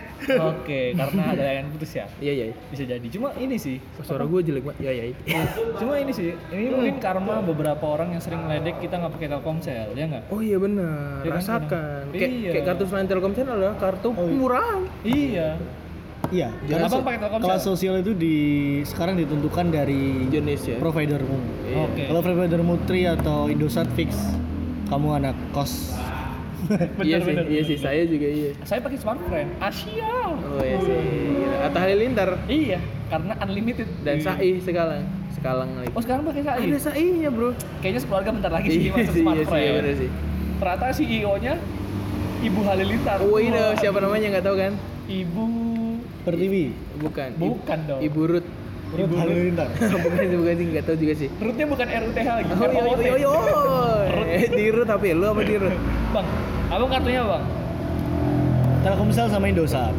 Speaker 1: Oke, karena ada yang putus ya.
Speaker 2: Iya iya.
Speaker 1: Bisa jadi. Cuma ini sih,
Speaker 2: Oh, suara Hmm. gue jelek banget. Iya iya.
Speaker 1: Cuma ini sih, ini mungkin karma beberapa orang yang sering ngeledek kita nggak pakai Telkomsel, ya nggak?
Speaker 2: Oh iya benar.
Speaker 1: Iya kan,
Speaker 2: Rasakan.
Speaker 1: benar.
Speaker 2: Kayak
Speaker 1: Iya. Oh,
Speaker 2: kayak kartu selain Telkomsel adalah kartu murahan.
Speaker 1: Iya.
Speaker 3: Iya. karena
Speaker 1: Abang
Speaker 3: so-
Speaker 1: pakai Telkomsel?
Speaker 3: Kelas sosial itu di sekarang ditentukan dari
Speaker 2: Indonesia.
Speaker 3: providermu.
Speaker 2: Iya.
Speaker 1: Oke.
Speaker 3: Kalau providermu Tri atau Indosat fix, kamu anak kos.
Speaker 2: iya
Speaker 1: Benar,
Speaker 2: sih,
Speaker 1: benar,
Speaker 2: iya
Speaker 1: benar,
Speaker 2: sih saya juga iya.
Speaker 1: Saya pakai smartphone, Asia.
Speaker 2: Oh iya sih. Atta Halilintar
Speaker 1: Iya, karena unlimited
Speaker 2: dan Saih sekarang. Sekarang lagi.
Speaker 1: Iya. Oh sekarang pakai SAI.
Speaker 2: Saihnya, Bro.
Speaker 1: Kayaknya sekeluarga bentar lagi sih
Speaker 2: Iya
Speaker 1: masuk
Speaker 2: sih, iya sih,
Speaker 1: smartphone.
Speaker 2: iya benar sih.
Speaker 1: Ternyata CEO-nya Ibu Halilintar.
Speaker 2: Oh,
Speaker 1: Wah,
Speaker 2: ini siapa namanya nggak tahu kan?
Speaker 1: Ibu
Speaker 3: Pertiwi.
Speaker 2: Bukan. Ibu-
Speaker 1: bukan dong.
Speaker 2: Ibu Ruth.
Speaker 3: Menurut Halilintar.
Speaker 2: bukan sih, bukan sih, nggak tahu juga sih.
Speaker 1: Rutnya bukan RUTH lagi. kan?
Speaker 2: Oh, yo,
Speaker 1: ROOT.
Speaker 2: yo, yo, Eh, Di Ruth tapi lu apa di Ruth?
Speaker 1: Bang, abang kartunya bang?
Speaker 3: Telkomsel sama Indosat.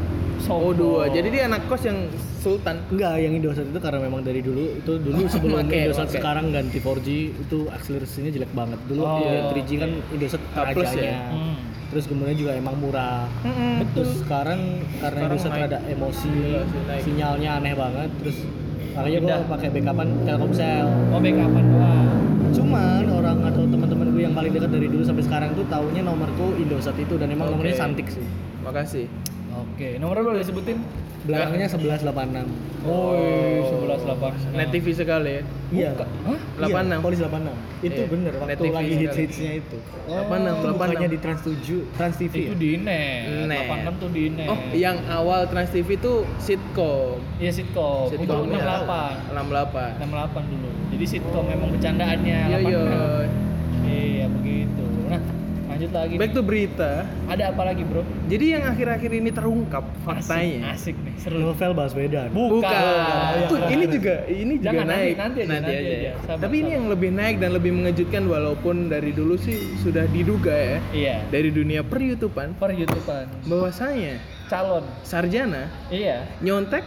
Speaker 2: Oh,
Speaker 1: Sombong.
Speaker 2: dua. Jadi dia anak kos yang Sultan.
Speaker 3: Enggak, yang Indosat itu karena memang dari dulu itu dulu sebelum
Speaker 2: Oke,
Speaker 3: Indosat
Speaker 2: oke.
Speaker 3: sekarang ganti 4G itu akselerasinya jelek banget. Dulu
Speaker 1: Oh,
Speaker 3: ya, 3G kan Indosat
Speaker 2: A plus ya?
Speaker 3: rajanya.
Speaker 1: Hmm.
Speaker 3: Terus kemudian juga emang murah.
Speaker 2: Heeh.
Speaker 3: Terus sekarang karena
Speaker 2: Sekarang
Speaker 3: Indosat
Speaker 2: naik.
Speaker 3: ada emosi,
Speaker 2: Iya sih, naik.
Speaker 3: sinyalnya aneh banget. Terus makanya gue
Speaker 1: Pindah.
Speaker 3: pakai backupan Telkomsel
Speaker 1: Oh backupan doang.
Speaker 3: cuman orang atau teman-teman gue yang paling dekat dari dulu sampai sekarang tuh taunya nomorku Indosat itu dan emang
Speaker 2: Oke.
Speaker 3: nomornya santik sih
Speaker 2: Makasih.
Speaker 1: Oke, nomornya boleh disebutin?
Speaker 2: Eh.
Speaker 3: belakangnya 1186
Speaker 1: Woi, 1186.
Speaker 2: Oh, Net TV sekali ya.
Speaker 3: Iya.
Speaker 1: Hah?
Speaker 2: 86.
Speaker 3: Iya, Polis 86. Itu
Speaker 2: Iya.
Speaker 3: bener
Speaker 2: Net
Speaker 3: waktu
Speaker 2: TV
Speaker 3: lagi
Speaker 2: sekali.
Speaker 3: hits-hitsnya itu.
Speaker 2: 86,
Speaker 3: Itu bukannya
Speaker 2: 86.
Speaker 3: di Trans 7, Trans TV.
Speaker 1: Itu
Speaker 3: ya?
Speaker 1: di net.
Speaker 2: Net.
Speaker 1: 86 tuh di net.
Speaker 2: Oh, yang awal Trans TV itu ya. sitkom.
Speaker 1: Iya sitkom. Itu
Speaker 2: Sitkom.
Speaker 1: 68.
Speaker 2: 68.
Speaker 1: 68 dulu. Jadi sitkom memang bercandaannya.
Speaker 2: Yo yo.
Speaker 1: 86. Iya begitu. Nah, lanjut lagi.
Speaker 2: Back to berita.
Speaker 1: Ada apa lagi, Bro?
Speaker 2: Jadi yang akhir-akhir ini terungkap faktanya.
Speaker 1: Asik, asik nih, seru.
Speaker 3: Novel Baswedan.
Speaker 1: Bukan. Iya,
Speaker 2: Bukan. Tuh, ini juga ini juga
Speaker 1: Jangan, nanti-
Speaker 2: naik.
Speaker 1: nanti aja, nanti aja. Sabar,
Speaker 2: Tapi ini
Speaker 1: sabar.
Speaker 2: yang lebih naik dan lebih mengejutkan walaupun dari dulu sih sudah diduga ya
Speaker 1: Iya.
Speaker 2: dari dunia per YouTubean
Speaker 1: Per YouTubean.
Speaker 2: bahwasanya
Speaker 1: Calon.
Speaker 2: sarjana
Speaker 1: Iya.
Speaker 2: nyontek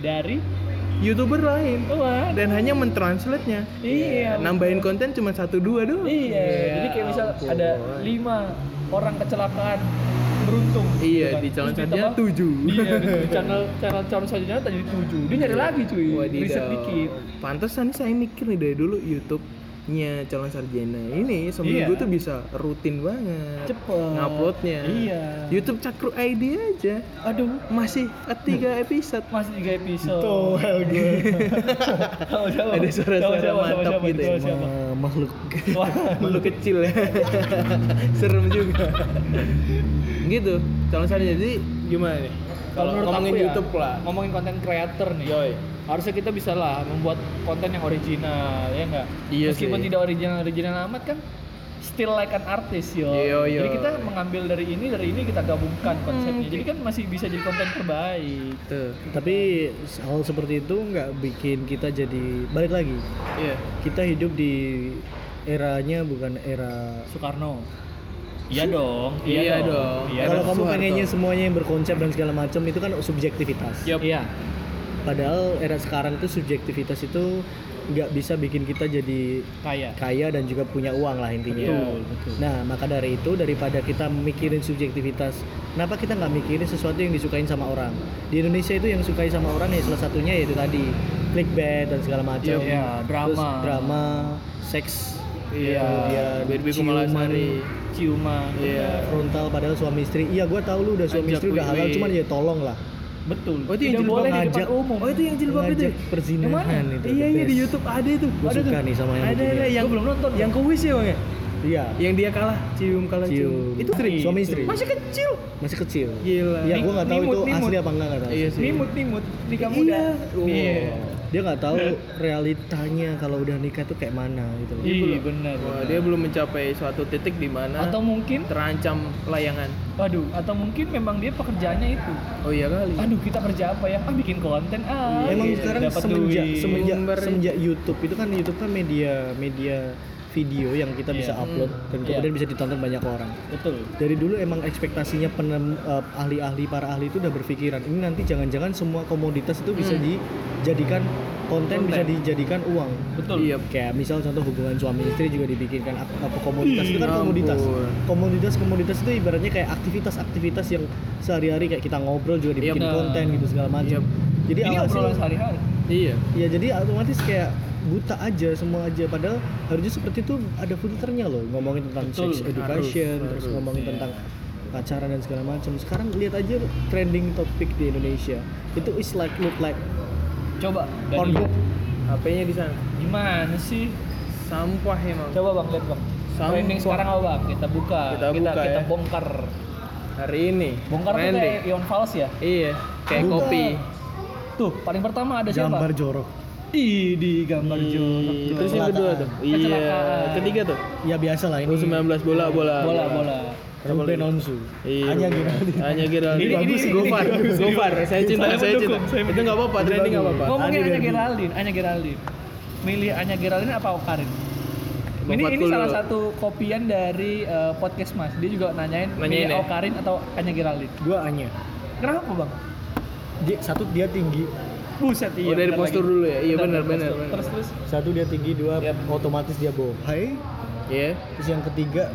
Speaker 1: Dari
Speaker 2: YouTuber lain
Speaker 1: Wah,
Speaker 2: dan hanya mentranslate-nya.
Speaker 1: Iya.
Speaker 2: Ya, Nambahin konten cuma satu dua doang.
Speaker 1: Iya, jadi kayak misal
Speaker 2: ampun.
Speaker 1: ada lima orang kecelakaan beruntung. gitu
Speaker 2: Iya,
Speaker 1: kan.
Speaker 2: di calon
Speaker 1: Terus
Speaker 2: sarjana
Speaker 1: ditambah-
Speaker 2: tujuh.
Speaker 1: Iya, di channel channel calon sarjana tadi tujuh. Dia nyari lagi cuy,
Speaker 2: Wadidaw.
Speaker 1: riset dikit.
Speaker 2: Pantesan saya mikir nih dari dulu YouTube-nya calon sarjana ini seminggu
Speaker 1: Iya.
Speaker 2: tuh bisa rutin banget.
Speaker 1: Cepet.
Speaker 2: Nguploadnya.
Speaker 1: Iya.
Speaker 2: YouTube chat crew ID aja
Speaker 1: Aduh,
Speaker 2: masih at tiga episode.
Speaker 1: masih tiga episode.
Speaker 3: Novel gue.
Speaker 1: Tahu siapa?
Speaker 2: Gitu, Ada suara-suara
Speaker 1: Tahu siapa,
Speaker 2: mantap
Speaker 1: siapa,
Speaker 2: gitu ya.
Speaker 1: tahu siapa.
Speaker 3: Ma- Eh, makhluk
Speaker 1: Wah,
Speaker 2: Malu kecil ya. Serem juga. gitu, calon sarjana. Jadi gimana nih?
Speaker 1: Kalau menurut
Speaker 2: ngomongin
Speaker 1: aku ya,
Speaker 2: YouTube lah.
Speaker 1: Ngomongin konten creator nih.
Speaker 2: Yoi.
Speaker 1: Harusnya kita bisa lah membuat konten yang original, ya nggak?
Speaker 2: Iya
Speaker 1: Meskipun
Speaker 2: sih.
Speaker 1: tidak original-original amat kan, still like an artist yo.
Speaker 2: Yo, Iya, yo. Hmm.
Speaker 1: Jadi kita mengambil dari ini, dari ini kita gabungkan konsepnya. Jadi kan masih bisa jadi konten terbaik.
Speaker 2: Tuh.
Speaker 3: Tapi hal seperti itu nggak bikin kita jadi balik lagi.
Speaker 2: Iya.
Speaker 3: Kita hidup di eranya bukan era
Speaker 1: Soekarno. Iya dong.
Speaker 2: Iya dong.
Speaker 1: Iya
Speaker 3: kalau
Speaker 1: dong.
Speaker 3: kamu
Speaker 2: Soeharto.
Speaker 3: pengennya semuanya yang berkonsep dan segala macam itu kan subjektivitas.
Speaker 2: Yup.
Speaker 1: Iya.
Speaker 3: Padahal era sekarang itu subjektivitas itu nggak bisa bikin kita jadi
Speaker 1: Kaya.
Speaker 3: kaya dan juga punya uang lah
Speaker 2: Iya.
Speaker 3: intinya.
Speaker 1: Betul, betul.
Speaker 3: Nah, maka dari itu daripada kita mikirin subjektivitas, kenapa kita nggak mikirin sesuatu yang disukain sama orang? Di Indonesia itu yang disukai sama orang ya salah satunya yaitu tadi clickbait dan segala macam.
Speaker 1: Yep. Iya, drama.
Speaker 3: Terus drama, seks,
Speaker 1: Iya.
Speaker 3: kemudian
Speaker 2: Bibi
Speaker 3: ciuman,
Speaker 2: Kumalasari.
Speaker 1: Ciuman.
Speaker 2: Iya.
Speaker 3: frontal padahal suami istri. Iya, gua tahu lu udah suami
Speaker 2: Ajak
Speaker 3: istri udah halal
Speaker 2: wiwi.
Speaker 3: cuman ya tolong lah.
Speaker 1: Betul.
Speaker 2: Oh, itu
Speaker 1: tidak
Speaker 2: yang jilbab
Speaker 1: boleh di depan
Speaker 3: ngajak.
Speaker 1: umum.
Speaker 2: Oh itu yang jilbab itu. ya?
Speaker 3: Ngajak perzinahan
Speaker 2: Yang mana?
Speaker 3: itu,
Speaker 2: Iya
Speaker 3: the
Speaker 2: iya di
Speaker 3: best.
Speaker 2: YouTube ada itu.
Speaker 3: Gua
Speaker 2: ada
Speaker 3: suka
Speaker 2: tuh.
Speaker 3: nih sama yang
Speaker 2: Ada
Speaker 3: begini.
Speaker 2: ada yang
Speaker 1: Gua belum nonton.
Speaker 2: Yang kuis ya bang ya?
Speaker 3: Iya.
Speaker 2: Yang dia kalah cium kalah cium.
Speaker 3: Cium.
Speaker 2: Itu sering.
Speaker 3: Suami istri.
Speaker 2: Masih kecil.
Speaker 3: Masih kecil.
Speaker 2: Gila.
Speaker 3: Iya, gua nggak tahu
Speaker 1: Nimut,
Speaker 3: itu
Speaker 1: nimut.
Speaker 3: asli apa enggak nggak tahu.
Speaker 2: Iya sih.
Speaker 1: Nimut nimut Oh, nikah
Speaker 2: Iya.
Speaker 1: muda.
Speaker 2: Wow.
Speaker 3: Dia nggak tahu realitanya kalau udah nikah tuh kayak mana gitu loh.
Speaker 1: Iya benar.
Speaker 2: Wah, dia belum mencapai suatu titik di mana
Speaker 1: Atau mungkin
Speaker 2: terancam layangan.
Speaker 1: waduh, atau mungkin memang dia pekerjaannya itu.
Speaker 2: Oh iya kali.
Speaker 1: Aduh, kita kerja apa ya? Ah, bikin konten. Ah,
Speaker 3: Emang
Speaker 1: gitu.
Speaker 3: sekarang
Speaker 1: Dapat
Speaker 3: semenjak
Speaker 1: duit.
Speaker 3: semenjak
Speaker 2: Sumber.
Speaker 3: semenjak YouTube itu kan YouTube kan media media video yang kita bisa
Speaker 1: Iya.
Speaker 3: upload dan
Speaker 1: Iya.
Speaker 3: kemudian bisa ditonton banyak orang.
Speaker 1: betul.
Speaker 3: Dari dulu emang ekspektasinya penem eh, ahli-ahli para ahli itu udah berpikiran ini nanti jangan-jangan semua komoditas itu bisa dijadikan konten, bisa dijadikan uang.
Speaker 1: Betul.
Speaker 2: Iya.
Speaker 3: Kayak misal contoh hubungan suami istri juga dibikinkan ak- apa komoditas itu kan
Speaker 2: Ih,
Speaker 3: komoditas.
Speaker 2: Hmm, ampun.
Speaker 3: Komoditas komoditas itu ibaratnya kayak aktivitas-aktivitas yang sehari-hari kayak kita ngobrol juga dibikin
Speaker 1: Yap.
Speaker 3: konten gitu segala macam.
Speaker 2: Yap.
Speaker 3: Jadi
Speaker 1: Ini
Speaker 3: alhasil
Speaker 1: obrolan sehari-hari.
Speaker 2: Iya.
Speaker 3: ya jadi otomatis kayak buta aja semua aja padahal harusnya seperti itu ada filternya loh ngomongin tentang
Speaker 1: Betul,
Speaker 3: sex education
Speaker 2: harus,
Speaker 3: terus
Speaker 2: harus,
Speaker 3: ngomongin
Speaker 1: iya.
Speaker 3: tentang pacaran dan segala macam sekarang lihat aja trending topik di Indonesia itu is like look like
Speaker 1: Coba dari
Speaker 3: Pornhub
Speaker 2: HP-nya di sana.
Speaker 1: gimana sih?
Speaker 2: Sampah emang.
Speaker 1: Coba Bang lihat Bang.
Speaker 2: Sampah.
Speaker 1: Trending sekarang apa Bang? Kita buka.
Speaker 2: Kita
Speaker 1: kita,
Speaker 2: buka,
Speaker 1: kita
Speaker 2: ya.
Speaker 1: bongkar.
Speaker 2: Hari ini.
Speaker 1: Bongkar tuh
Speaker 2: trending.
Speaker 1: kayak Ion Fals ya?
Speaker 2: Iya. Kayak
Speaker 3: Bukan.
Speaker 2: kopi.
Speaker 1: Tuh, paling pertama ada siapa?
Speaker 3: gambar jorok Hmm,
Speaker 1: Ih, di gambar jorok.
Speaker 2: Ih, Terus yang kedua tuh. Iya.
Speaker 1: Kecelakaan.
Speaker 2: Ketiga tuh.
Speaker 3: ya biasa lah ini
Speaker 2: U19 bola bola.
Speaker 1: Bola bola.
Speaker 3: Ruben Onsu
Speaker 2: Iya.
Speaker 3: hanya gitu
Speaker 2: Hanya Geraldine.
Speaker 1: Ini-
Speaker 2: bagus,
Speaker 1: ini-
Speaker 2: Gofar.
Speaker 1: ini bagus,
Speaker 2: Gofar.
Speaker 1: ini
Speaker 2: Saya cinta,
Speaker 1: bagus.
Speaker 2: saya
Speaker 1: Saya
Speaker 2: cinta.
Speaker 1: mendukung, saya
Speaker 2: Itu enggak apa-apa,
Speaker 3: Ini
Speaker 2: trending enggak
Speaker 3: bagus.
Speaker 2: apa-apa.
Speaker 1: Ngomongin
Speaker 3: Ani
Speaker 1: Anya
Speaker 3: Derby.
Speaker 1: Geraldine, Anya Geraldine. Milih Anya Geraldine apa Okarin? Ini,
Speaker 2: Bang
Speaker 1: ini
Speaker 2: Fatkul
Speaker 1: salah
Speaker 2: dulu.
Speaker 1: satu kopian dari eh, podcast Mas. Dia juga nanyain,
Speaker 2: Nanyain
Speaker 1: milih
Speaker 2: ya?
Speaker 1: Okarin atau Anya Geraldine.
Speaker 3: gua hanya
Speaker 1: Kenapa bang?
Speaker 3: dia satu dia tinggi
Speaker 1: Buset iya.
Speaker 2: Oh, dari
Speaker 1: bentar
Speaker 2: postur
Speaker 1: lagi.
Speaker 2: dulu ya? Iya,
Speaker 1: Bentar,
Speaker 2: benar,
Speaker 1: dari
Speaker 2: benar,
Speaker 1: postur.
Speaker 2: benar.
Speaker 1: Terus terus.
Speaker 3: satu dia tinggi dua
Speaker 2: Yap.
Speaker 3: otomatis dia bohai
Speaker 2: Iya.
Speaker 3: terus yang ketiga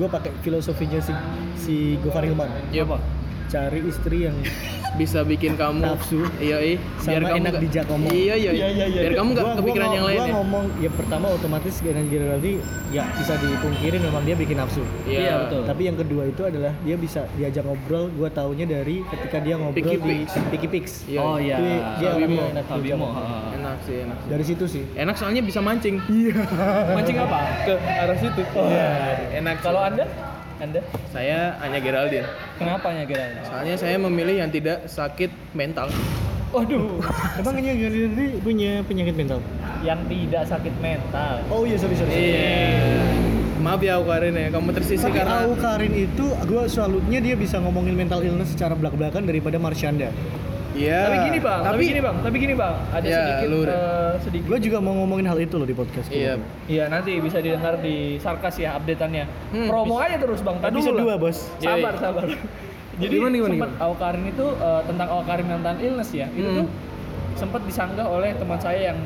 Speaker 3: gua pakai filosofinya si si Gofar Hilman
Speaker 1: Iya bang.
Speaker 3: cari istri yang
Speaker 2: bisa bikin kamu
Speaker 3: Nafsu.
Speaker 2: iya iya
Speaker 3: Sama enak
Speaker 2: nggak-
Speaker 3: dijak ngomong.
Speaker 2: iya iya
Speaker 1: Iya, iya, iya.
Speaker 2: biar kamu nggak
Speaker 3: Gua- gua
Speaker 2: kepikiran
Speaker 3: ngo-
Speaker 2: yang lain
Speaker 3: gua
Speaker 2: ya
Speaker 3: ngomong ya pertama otomatis Genan Gerardi ya bisa dipungkiri memang dia bikin nafsu
Speaker 1: Iya, betul.
Speaker 3: tapi yang kedua itu adalah dia bisa diajak ngobrol gue taunya dari ketika dia ngobrol
Speaker 2: Picky
Speaker 3: di
Speaker 2: Picks.
Speaker 3: Picky Picks
Speaker 2: Iya,
Speaker 1: oh
Speaker 3: iya.
Speaker 1: iya.
Speaker 3: Dia
Speaker 1: Habimo.
Speaker 3: orangnya enak
Speaker 1: Habimo,
Speaker 3: juga.
Speaker 1: ha.
Speaker 2: enak sih enak sih.
Speaker 3: dari situ sih
Speaker 2: enak soalnya bisa mancing iya
Speaker 1: Mancing apa?
Speaker 2: ke arah situ iya enak
Speaker 1: Kalau Anda? Anda?
Speaker 2: saya hanya Geraldine
Speaker 1: Kenapa ya Geralda?
Speaker 2: soalnya saya memilih yang tidak sakit mental
Speaker 1: Waduh,
Speaker 3: emang Genan Gerardi punya penyakit mental
Speaker 1: yang tidak sakit mental.
Speaker 3: oh iya sorry sorry
Speaker 2: maaf ya Karin ya kamu tersisih
Speaker 3: Tapi
Speaker 2: karena
Speaker 3: Au Karin itu gue salutnya dia bisa ngomongin mental illness secara belak-belakan daripada Marsyanda.
Speaker 2: iya
Speaker 1: Tapi gini bang, tapi, gini bang, tapi gini bang, ada
Speaker 2: Ya,
Speaker 1: sedikit,
Speaker 2: lu deh.
Speaker 1: eh, sedikit.
Speaker 3: Gue juga mau ngomongin hal itu loh di podcast.
Speaker 2: iya
Speaker 3: kemarin.
Speaker 1: Iya nanti bisa didengar di sarkas ya updateannya.
Speaker 2: Hmm,
Speaker 1: Promo aja terus bang, tadi
Speaker 3: Episode
Speaker 1: dulu
Speaker 3: dua
Speaker 1: lah.
Speaker 3: bos.
Speaker 2: Iya,
Speaker 1: Sabar
Speaker 2: iya.
Speaker 1: sabar. Jadi
Speaker 2: Gimana, gimana,
Speaker 1: sempat
Speaker 2: gimana?
Speaker 1: Awkarin itu eh, tentang Awkarin mental illness ya, itu
Speaker 2: Hmm.
Speaker 1: tuh sempat disanggah oleh teman saya yang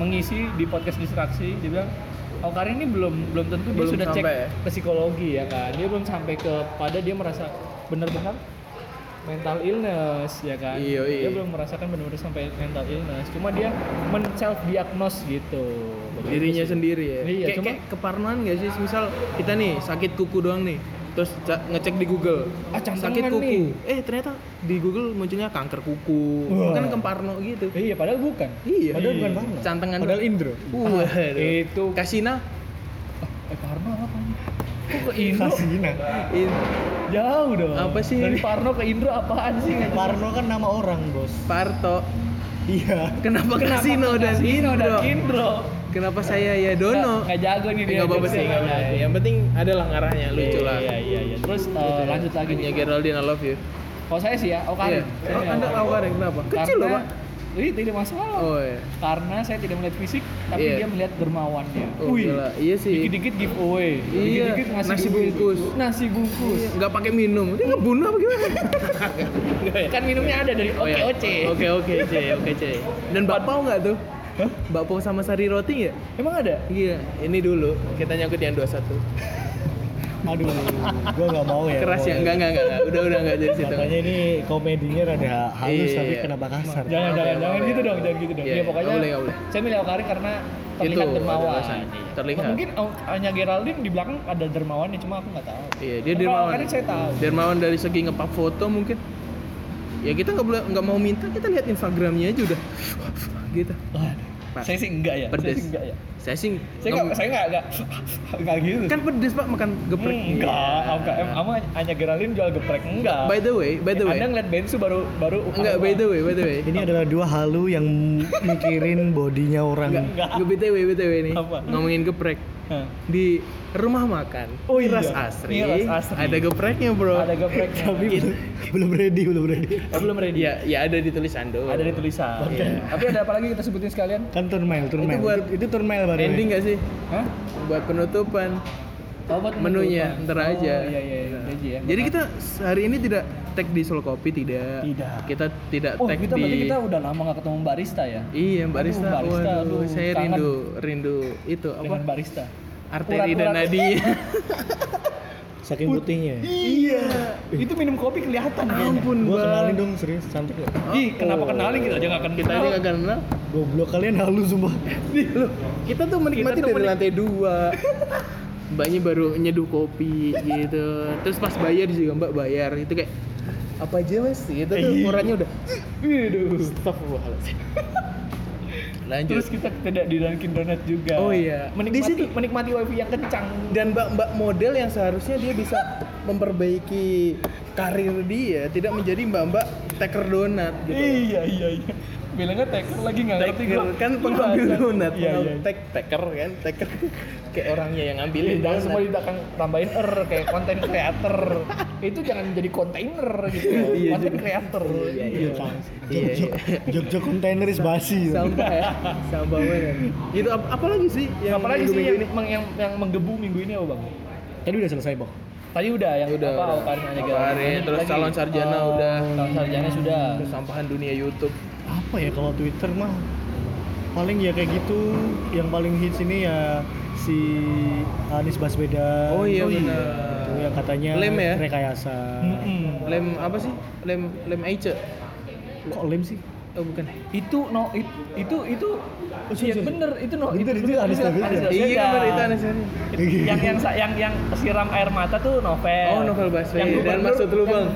Speaker 1: mengisi di podcast distraksi, dia bilang Awkarin ini belum belum tentu
Speaker 2: Belum
Speaker 1: dia sudah cek
Speaker 2: sampai ya?"
Speaker 1: ke psikologi ya kan, dia belum sampai ke pada dia merasa benar-benar mental illness ya kan,
Speaker 2: Iya, iya.
Speaker 1: dia belum merasakan benar-benar sampai mental illness, cuma dia men self diagnose gitu. Begitu
Speaker 2: dirinya
Speaker 1: sih.
Speaker 2: sendiri ya
Speaker 1: Iya,
Speaker 2: kayak,
Speaker 1: cuma-
Speaker 2: kayak keparnoan gak sih misal kita nih sakit kuku doang nih terus ca- ngecek di Google
Speaker 1: Ah, cantengan
Speaker 2: sakit kuku
Speaker 1: nih.
Speaker 2: eh ternyata di Google munculnya kanker kuku
Speaker 3: Wah.
Speaker 2: kan keparno gitu
Speaker 1: Iya, padahal bukan.
Speaker 2: iya
Speaker 3: Padahal bukan parno.
Speaker 2: cantengan
Speaker 3: Padahal Indro.
Speaker 2: Waduh.
Speaker 1: Itu
Speaker 2: kasina
Speaker 1: eh Parno apa? Kok ke Indro?
Speaker 3: Kasina.
Speaker 2: in-
Speaker 1: Jauh dong.
Speaker 2: Apa sih?
Speaker 1: Dari Parno ke Indro apaan sih?
Speaker 3: Parno kan nama orang bos.
Speaker 2: Parto
Speaker 3: Iya.
Speaker 2: kenapa, kasino
Speaker 1: ke
Speaker 2: dan
Speaker 1: Kasino dan
Speaker 2: Indro
Speaker 1: Indro?
Speaker 2: kenapa saya ya Dono Eh,
Speaker 1: Nggak jago nih dia.
Speaker 2: Nggak apa-apa sih, nggak apa-apa. yang penting adalah ngarahnya lucu lah
Speaker 1: Iya, iya, iya. Terus eh, lanjut lagi
Speaker 2: Hanya
Speaker 1: nih.
Speaker 2: Geraldine I love you
Speaker 1: Kalau saya sih ya, oh Karin.
Speaker 2: Iya. Oh, Anda tahu Karin kenapa? Kecil loh, Pak.
Speaker 1: Ini tidak masalah.
Speaker 2: Oh iya.
Speaker 1: Karena saya tidak melihat fisik, tapi
Speaker 2: Iya.
Speaker 1: dia melihat dermawannya.
Speaker 2: Oh, gila. Iya sih.
Speaker 1: Dikit-dikit giveaway,
Speaker 2: Iya.
Speaker 1: dikit-dikit ngasih
Speaker 2: Nasi
Speaker 1: duit.
Speaker 2: bungkus.
Speaker 1: Nasi bungkus.
Speaker 2: nggak pakai minum dia ngebunuh apa gimana Nggak ya?
Speaker 1: Kan minumnya ada dari
Speaker 2: Oh,
Speaker 1: Oke
Speaker 2: ya.
Speaker 1: Oce.
Speaker 2: oke oke c oke c dan bakpao nggak tuh
Speaker 1: Hah?
Speaker 2: bakpao sama sari roti ya
Speaker 1: Emang ada?
Speaker 2: iya ini dulu kita nyangkut yang 21
Speaker 3: Aduh, gue nggak mau ya.
Speaker 2: keras
Speaker 3: Boy.
Speaker 2: ya enggak enggak enggak enggak. udah udah enggak jadi situ
Speaker 3: Makanya ini komedinya rada halus
Speaker 2: Iya.
Speaker 3: tapi kenapa kasar?
Speaker 1: Jangan,
Speaker 2: Oke,
Speaker 1: jangan,
Speaker 2: oke,
Speaker 1: jangan
Speaker 2: oke.
Speaker 1: gitu dong, jangan gitu dong.
Speaker 2: Iya,
Speaker 1: Ya,
Speaker 2: iya.
Speaker 1: pokoknya
Speaker 2: Nggak boleh, nggak boleh.
Speaker 1: saya milih Awkari karena terlihat
Speaker 2: Itu, ada
Speaker 1: dermawan.
Speaker 2: alasannya.
Speaker 1: Iya.
Speaker 2: Terlihat.
Speaker 1: Mungkin Au- Anya Geraldine di belakang ada dermawannya, cuma aku nggak tahu.
Speaker 2: iya dia
Speaker 1: Kalau
Speaker 2: dermawan
Speaker 1: Awkarin saya tahu.
Speaker 2: dermawan dari segi ngepak foto mungkin ya kita nggak boleh nggak mau minta kita lihat instagramnya aja udah gitu
Speaker 1: Waduh.
Speaker 2: Pas.
Speaker 1: Saya sih enggak ya. Saya
Speaker 2: Pedes.
Speaker 1: sih enggak ya.
Speaker 2: saya sih
Speaker 1: Saya
Speaker 2: nggak-
Speaker 1: enggak, saya enggak, enggak, enggak gitu.
Speaker 2: kan pedes pak makan geprek
Speaker 1: enggak, Awkari. Em- Ama Anya Geraldine jual geprek enggak.
Speaker 2: by the way by the way
Speaker 1: Anda ngeliat Bensu baru baru
Speaker 2: enggak by the way by the way
Speaker 3: Ini adalah dua halu yang mikirin bodinya orang.
Speaker 2: Enggak,
Speaker 1: Enggak.
Speaker 2: Gue BTW, BTW nih.
Speaker 1: Apa?
Speaker 2: Ngomongin geprek.
Speaker 1: Hah.
Speaker 2: Di rumah makan.
Speaker 1: Oh iya.
Speaker 2: Miras Asri.
Speaker 1: Miras Asri.
Speaker 2: Ada gepreknya, Bro.
Speaker 1: Ada gepreknya.
Speaker 3: Tapi belum, belum ready, belum ready.
Speaker 1: Oh, belum ready.
Speaker 2: Ya, ya ada di tulisan doang.
Speaker 1: Ada di tulisan.
Speaker 2: Iya.
Speaker 1: Tapi ada apa lagi kita sebutin sekalian?
Speaker 3: Kan turmail, turmail.
Speaker 2: Itu buat-
Speaker 3: itu turmail baru. ya.
Speaker 2: Ending nggak sih?
Speaker 1: Hah?
Speaker 2: Buat penutupan
Speaker 1: Oh, buat
Speaker 2: menunya
Speaker 1: menutup.
Speaker 2: ntar
Speaker 1: Oh,
Speaker 2: aja.
Speaker 1: iya, iya, iya. Gaji ya.
Speaker 2: Jadi kita hari ini tidak tag di Solo Kopi tidak.
Speaker 1: Tidak.
Speaker 2: Kita tidak
Speaker 1: Oh,
Speaker 2: tag
Speaker 1: kita
Speaker 2: di
Speaker 1: berarti kita udah lama gak ketemu barista ya?
Speaker 2: Iya, Mbak
Speaker 1: Aduh,
Speaker 2: Rista.
Speaker 1: Mbak Rista,
Speaker 2: Waduh,
Speaker 1: aduh,
Speaker 2: saya
Speaker 1: kangen.
Speaker 2: rindu rindu itu
Speaker 1: Dengan
Speaker 2: apa?
Speaker 1: barista.
Speaker 2: Arteri dan
Speaker 1: Urat-urat.
Speaker 2: nadi.
Speaker 3: Saking putihnya.
Speaker 1: Iya.
Speaker 2: Eh.
Speaker 1: Itu minum kopi kelihatan
Speaker 2: Ah,
Speaker 1: kayaknya.
Speaker 2: Ampun,
Speaker 3: Gue
Speaker 2: Bang.
Speaker 3: kenalin dong serius, cantik loh.
Speaker 1: Ih, kenapa kenalin kita aja gak kenal.
Speaker 2: Oh. Kita aja nggak kenal.
Speaker 3: Goblok kalian halu semua.
Speaker 2: Nih, Iya, loh, kita tuh menikmati
Speaker 1: Kita tuh
Speaker 2: dari
Speaker 1: menik-
Speaker 2: lantai dua. Mbaknya baru nyeduh kopi gitu. Terus pas bayar juga Mbak bayar itu kayak apa aja mas gitu tuh orangnya udah
Speaker 1: Waduh.
Speaker 2: astagfirullahaladzim lanjut
Speaker 1: Terus kita tidak di Dunkin Donat juga.
Speaker 2: Oh, iya.
Speaker 1: Menikmati,
Speaker 2: Di situ.
Speaker 1: menikmati wifi yang kencang.
Speaker 2: dan mbak-mbak model yang seharusnya dia bisa memperbaiki karir dia tidak menjadi mbak-mbak teker donat gitu
Speaker 1: Iya, iya, iya. Bilangnya taker lagi gak ngerti
Speaker 2: teker
Speaker 1: gua.
Speaker 2: kan
Speaker 1: Iya,
Speaker 2: pengambil
Speaker 1: kan?
Speaker 2: donat
Speaker 1: Iya, iya.
Speaker 2: pengambil- tek teker kan Iya, teker kayak orangnya yang ngambilin
Speaker 1: Pilih jangan semua
Speaker 2: donat.
Speaker 1: ditakan tambahin er kayak konten creator. Itu jangan jadi kontainer gitu.
Speaker 2: Iya,
Speaker 1: Konten
Speaker 2: juga.
Speaker 1: creator. kan?
Speaker 2: Iya, iya. Iya,
Speaker 3: Jogja,
Speaker 2: iya.
Speaker 3: Jogja container is basi. ya.
Speaker 2: sampah ya sampah banget itu Gitu, ap apalagi sih yang
Speaker 1: Apalagi sih
Speaker 2: minggu-minggu
Speaker 1: yang, yang, yang, yang menggebu minggu ini apa bang?
Speaker 3: Tadi udah selesai, Bok.
Speaker 1: Tadi udah yang
Speaker 2: Udah,
Speaker 1: apa
Speaker 2: udah.
Speaker 1: Awkarin aja
Speaker 2: Awkarin, terus calon sarjana udah.
Speaker 1: Oh, Calon sarjana sudah.
Speaker 2: ini? kesampahan dunia YouTube
Speaker 3: Apa ya kalau Twitter mah paling ya kayak gitu. Yang paling hits ini ya si Anies Baswedan.
Speaker 2: oh iya benar
Speaker 3: itu yang katanya
Speaker 2: Lem ya?
Speaker 3: rekayasa.
Speaker 1: Mm-mm.
Speaker 2: lem apa sih lem lem Aice
Speaker 3: Kok lem sih?
Speaker 2: oh bukan
Speaker 1: itu no it- itu itu
Speaker 3: Oh,
Speaker 1: iya,
Speaker 3: sorry, sorry.
Speaker 1: bener itu no
Speaker 3: Bener, itu Anies
Speaker 2: iya
Speaker 3: Baswedan.
Speaker 1: Baswedan.
Speaker 2: benar itu Anastasia
Speaker 1: yang yang sa- yang yang siram air mata tuh novel
Speaker 2: oh novel Baswedan dan maksud lu bang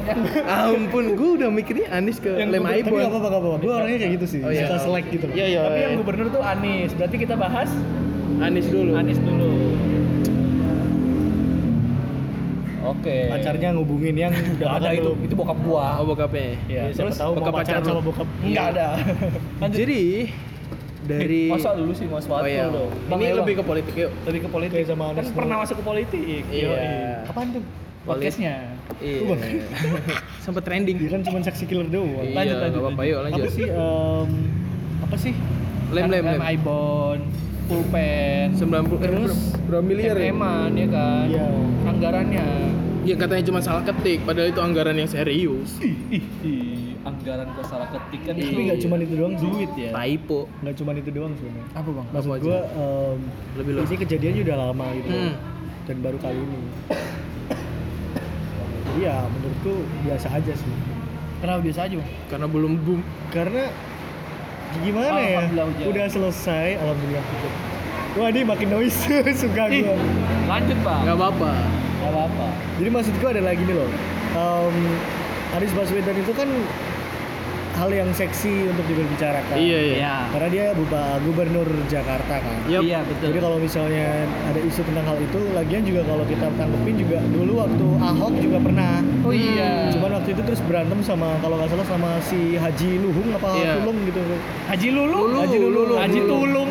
Speaker 2: ampun gue udah mikirnya Anis ke
Speaker 3: Yang
Speaker 2: lem
Speaker 3: gua- Tapi
Speaker 2: Aibon
Speaker 3: nggak apa-apa, nggak apa-apa. Gue orangnya kayak gitu sih.
Speaker 2: Oh, iya.
Speaker 3: Suka selek gitu. loh.
Speaker 2: iya iya
Speaker 1: tapi yang gubernur tuh Anies berarti kita bahas
Speaker 2: Anis dulu
Speaker 1: Anies dulu oke
Speaker 3: Pacarnya ngubungin yang udah
Speaker 1: iya. Nggak ada
Speaker 3: makan
Speaker 1: itu
Speaker 3: belum.
Speaker 1: itu bokap gua
Speaker 2: oh bokapnya
Speaker 1: Iya,
Speaker 3: Jadi Siapa
Speaker 1: terus
Speaker 3: tahu
Speaker 2: bokap
Speaker 3: mau pacaran
Speaker 2: pacar
Speaker 3: sama
Speaker 2: lu.
Speaker 3: bokap. Iya.
Speaker 1: nggak ada Lanjut.
Speaker 2: Iya. jadi dari
Speaker 1: Eh, masa dulu sih mas Watul
Speaker 2: oh iya
Speaker 1: dong Bang
Speaker 2: ini
Speaker 1: Ewa.
Speaker 2: lebih ke politik yuk
Speaker 1: lebih ke politik
Speaker 3: Kayak sama
Speaker 1: kan
Speaker 3: Anies
Speaker 1: pernah
Speaker 3: dulu.
Speaker 1: masuk ke politik
Speaker 2: Iya.
Speaker 3: Kapan tuh?
Speaker 1: podcastnya
Speaker 2: Iya. Sempat trending.
Speaker 3: Dia kan cuma seksi killer doang.
Speaker 1: Lanjut, lanjut,
Speaker 2: Iya, nggak apa-apa. Yuk
Speaker 3: Apa
Speaker 2: lanjut.
Speaker 3: sih? em, apa sih?
Speaker 2: Lem, lem, lem.
Speaker 1: Kan Ibon, pulpen,
Speaker 2: 90 eh,
Speaker 1: terus
Speaker 2: ber- berapa miliar ya?
Speaker 1: eman ya kan,
Speaker 3: Iya.
Speaker 1: anggarannya,
Speaker 2: Ya katanya cuma salah ketik, padahal itu anggaran yang serius.
Speaker 1: Ih, anggaran kok salah ketik kan
Speaker 3: Tapi
Speaker 1: itu
Speaker 3: nggak cuma itu doang sih.
Speaker 1: duit ya.
Speaker 2: Typo.
Speaker 3: Nggak cuma itu doang sebenarnya.
Speaker 1: Apa bang?
Speaker 3: Maksud
Speaker 2: aja?
Speaker 3: gue em,
Speaker 2: Lebih luas.
Speaker 3: ini kejadiannya udah lama gitu
Speaker 2: Hmm.
Speaker 3: dan baru kali ini. Jadi ya menurutku biasa aja sih.
Speaker 1: Kenapa biasa aja? Bang?
Speaker 2: Karena belum boom.
Speaker 3: Karena gimana ya?
Speaker 1: Alhamdulillah hujan.
Speaker 3: Udah selesai, alhamdulillah. hujan. Wah ini makin noise suka
Speaker 1: Ih,
Speaker 3: gue.
Speaker 1: lanjut bang.
Speaker 2: Enggak apa-apa.
Speaker 1: Gak apa-apa.
Speaker 3: Jadi maksud gue adalah gini loh. Em Anies Baswedan itu kan hal yang seksi untuk diberbicarakan.
Speaker 2: Iya, iya.
Speaker 3: Karena dia buba- gubernur Jakarta kan.
Speaker 2: Yup.
Speaker 1: Iya betul.
Speaker 3: Jadi kalau misalnya ada isu tentang hal itu, lagian juga kalau kita tanggepin juga dulu waktu Ahok juga pernah.
Speaker 1: Oh iya.
Speaker 3: Cuman waktu itu terus berantem sama kalau nggak salah sama si Haji Luhung apa
Speaker 2: Iya.
Speaker 3: Tulung gitu.
Speaker 1: Haji Lulung,
Speaker 2: Lulu,
Speaker 1: Haji Lulung,
Speaker 2: Lulu,
Speaker 1: Haji
Speaker 2: Lulu.
Speaker 1: Tulung.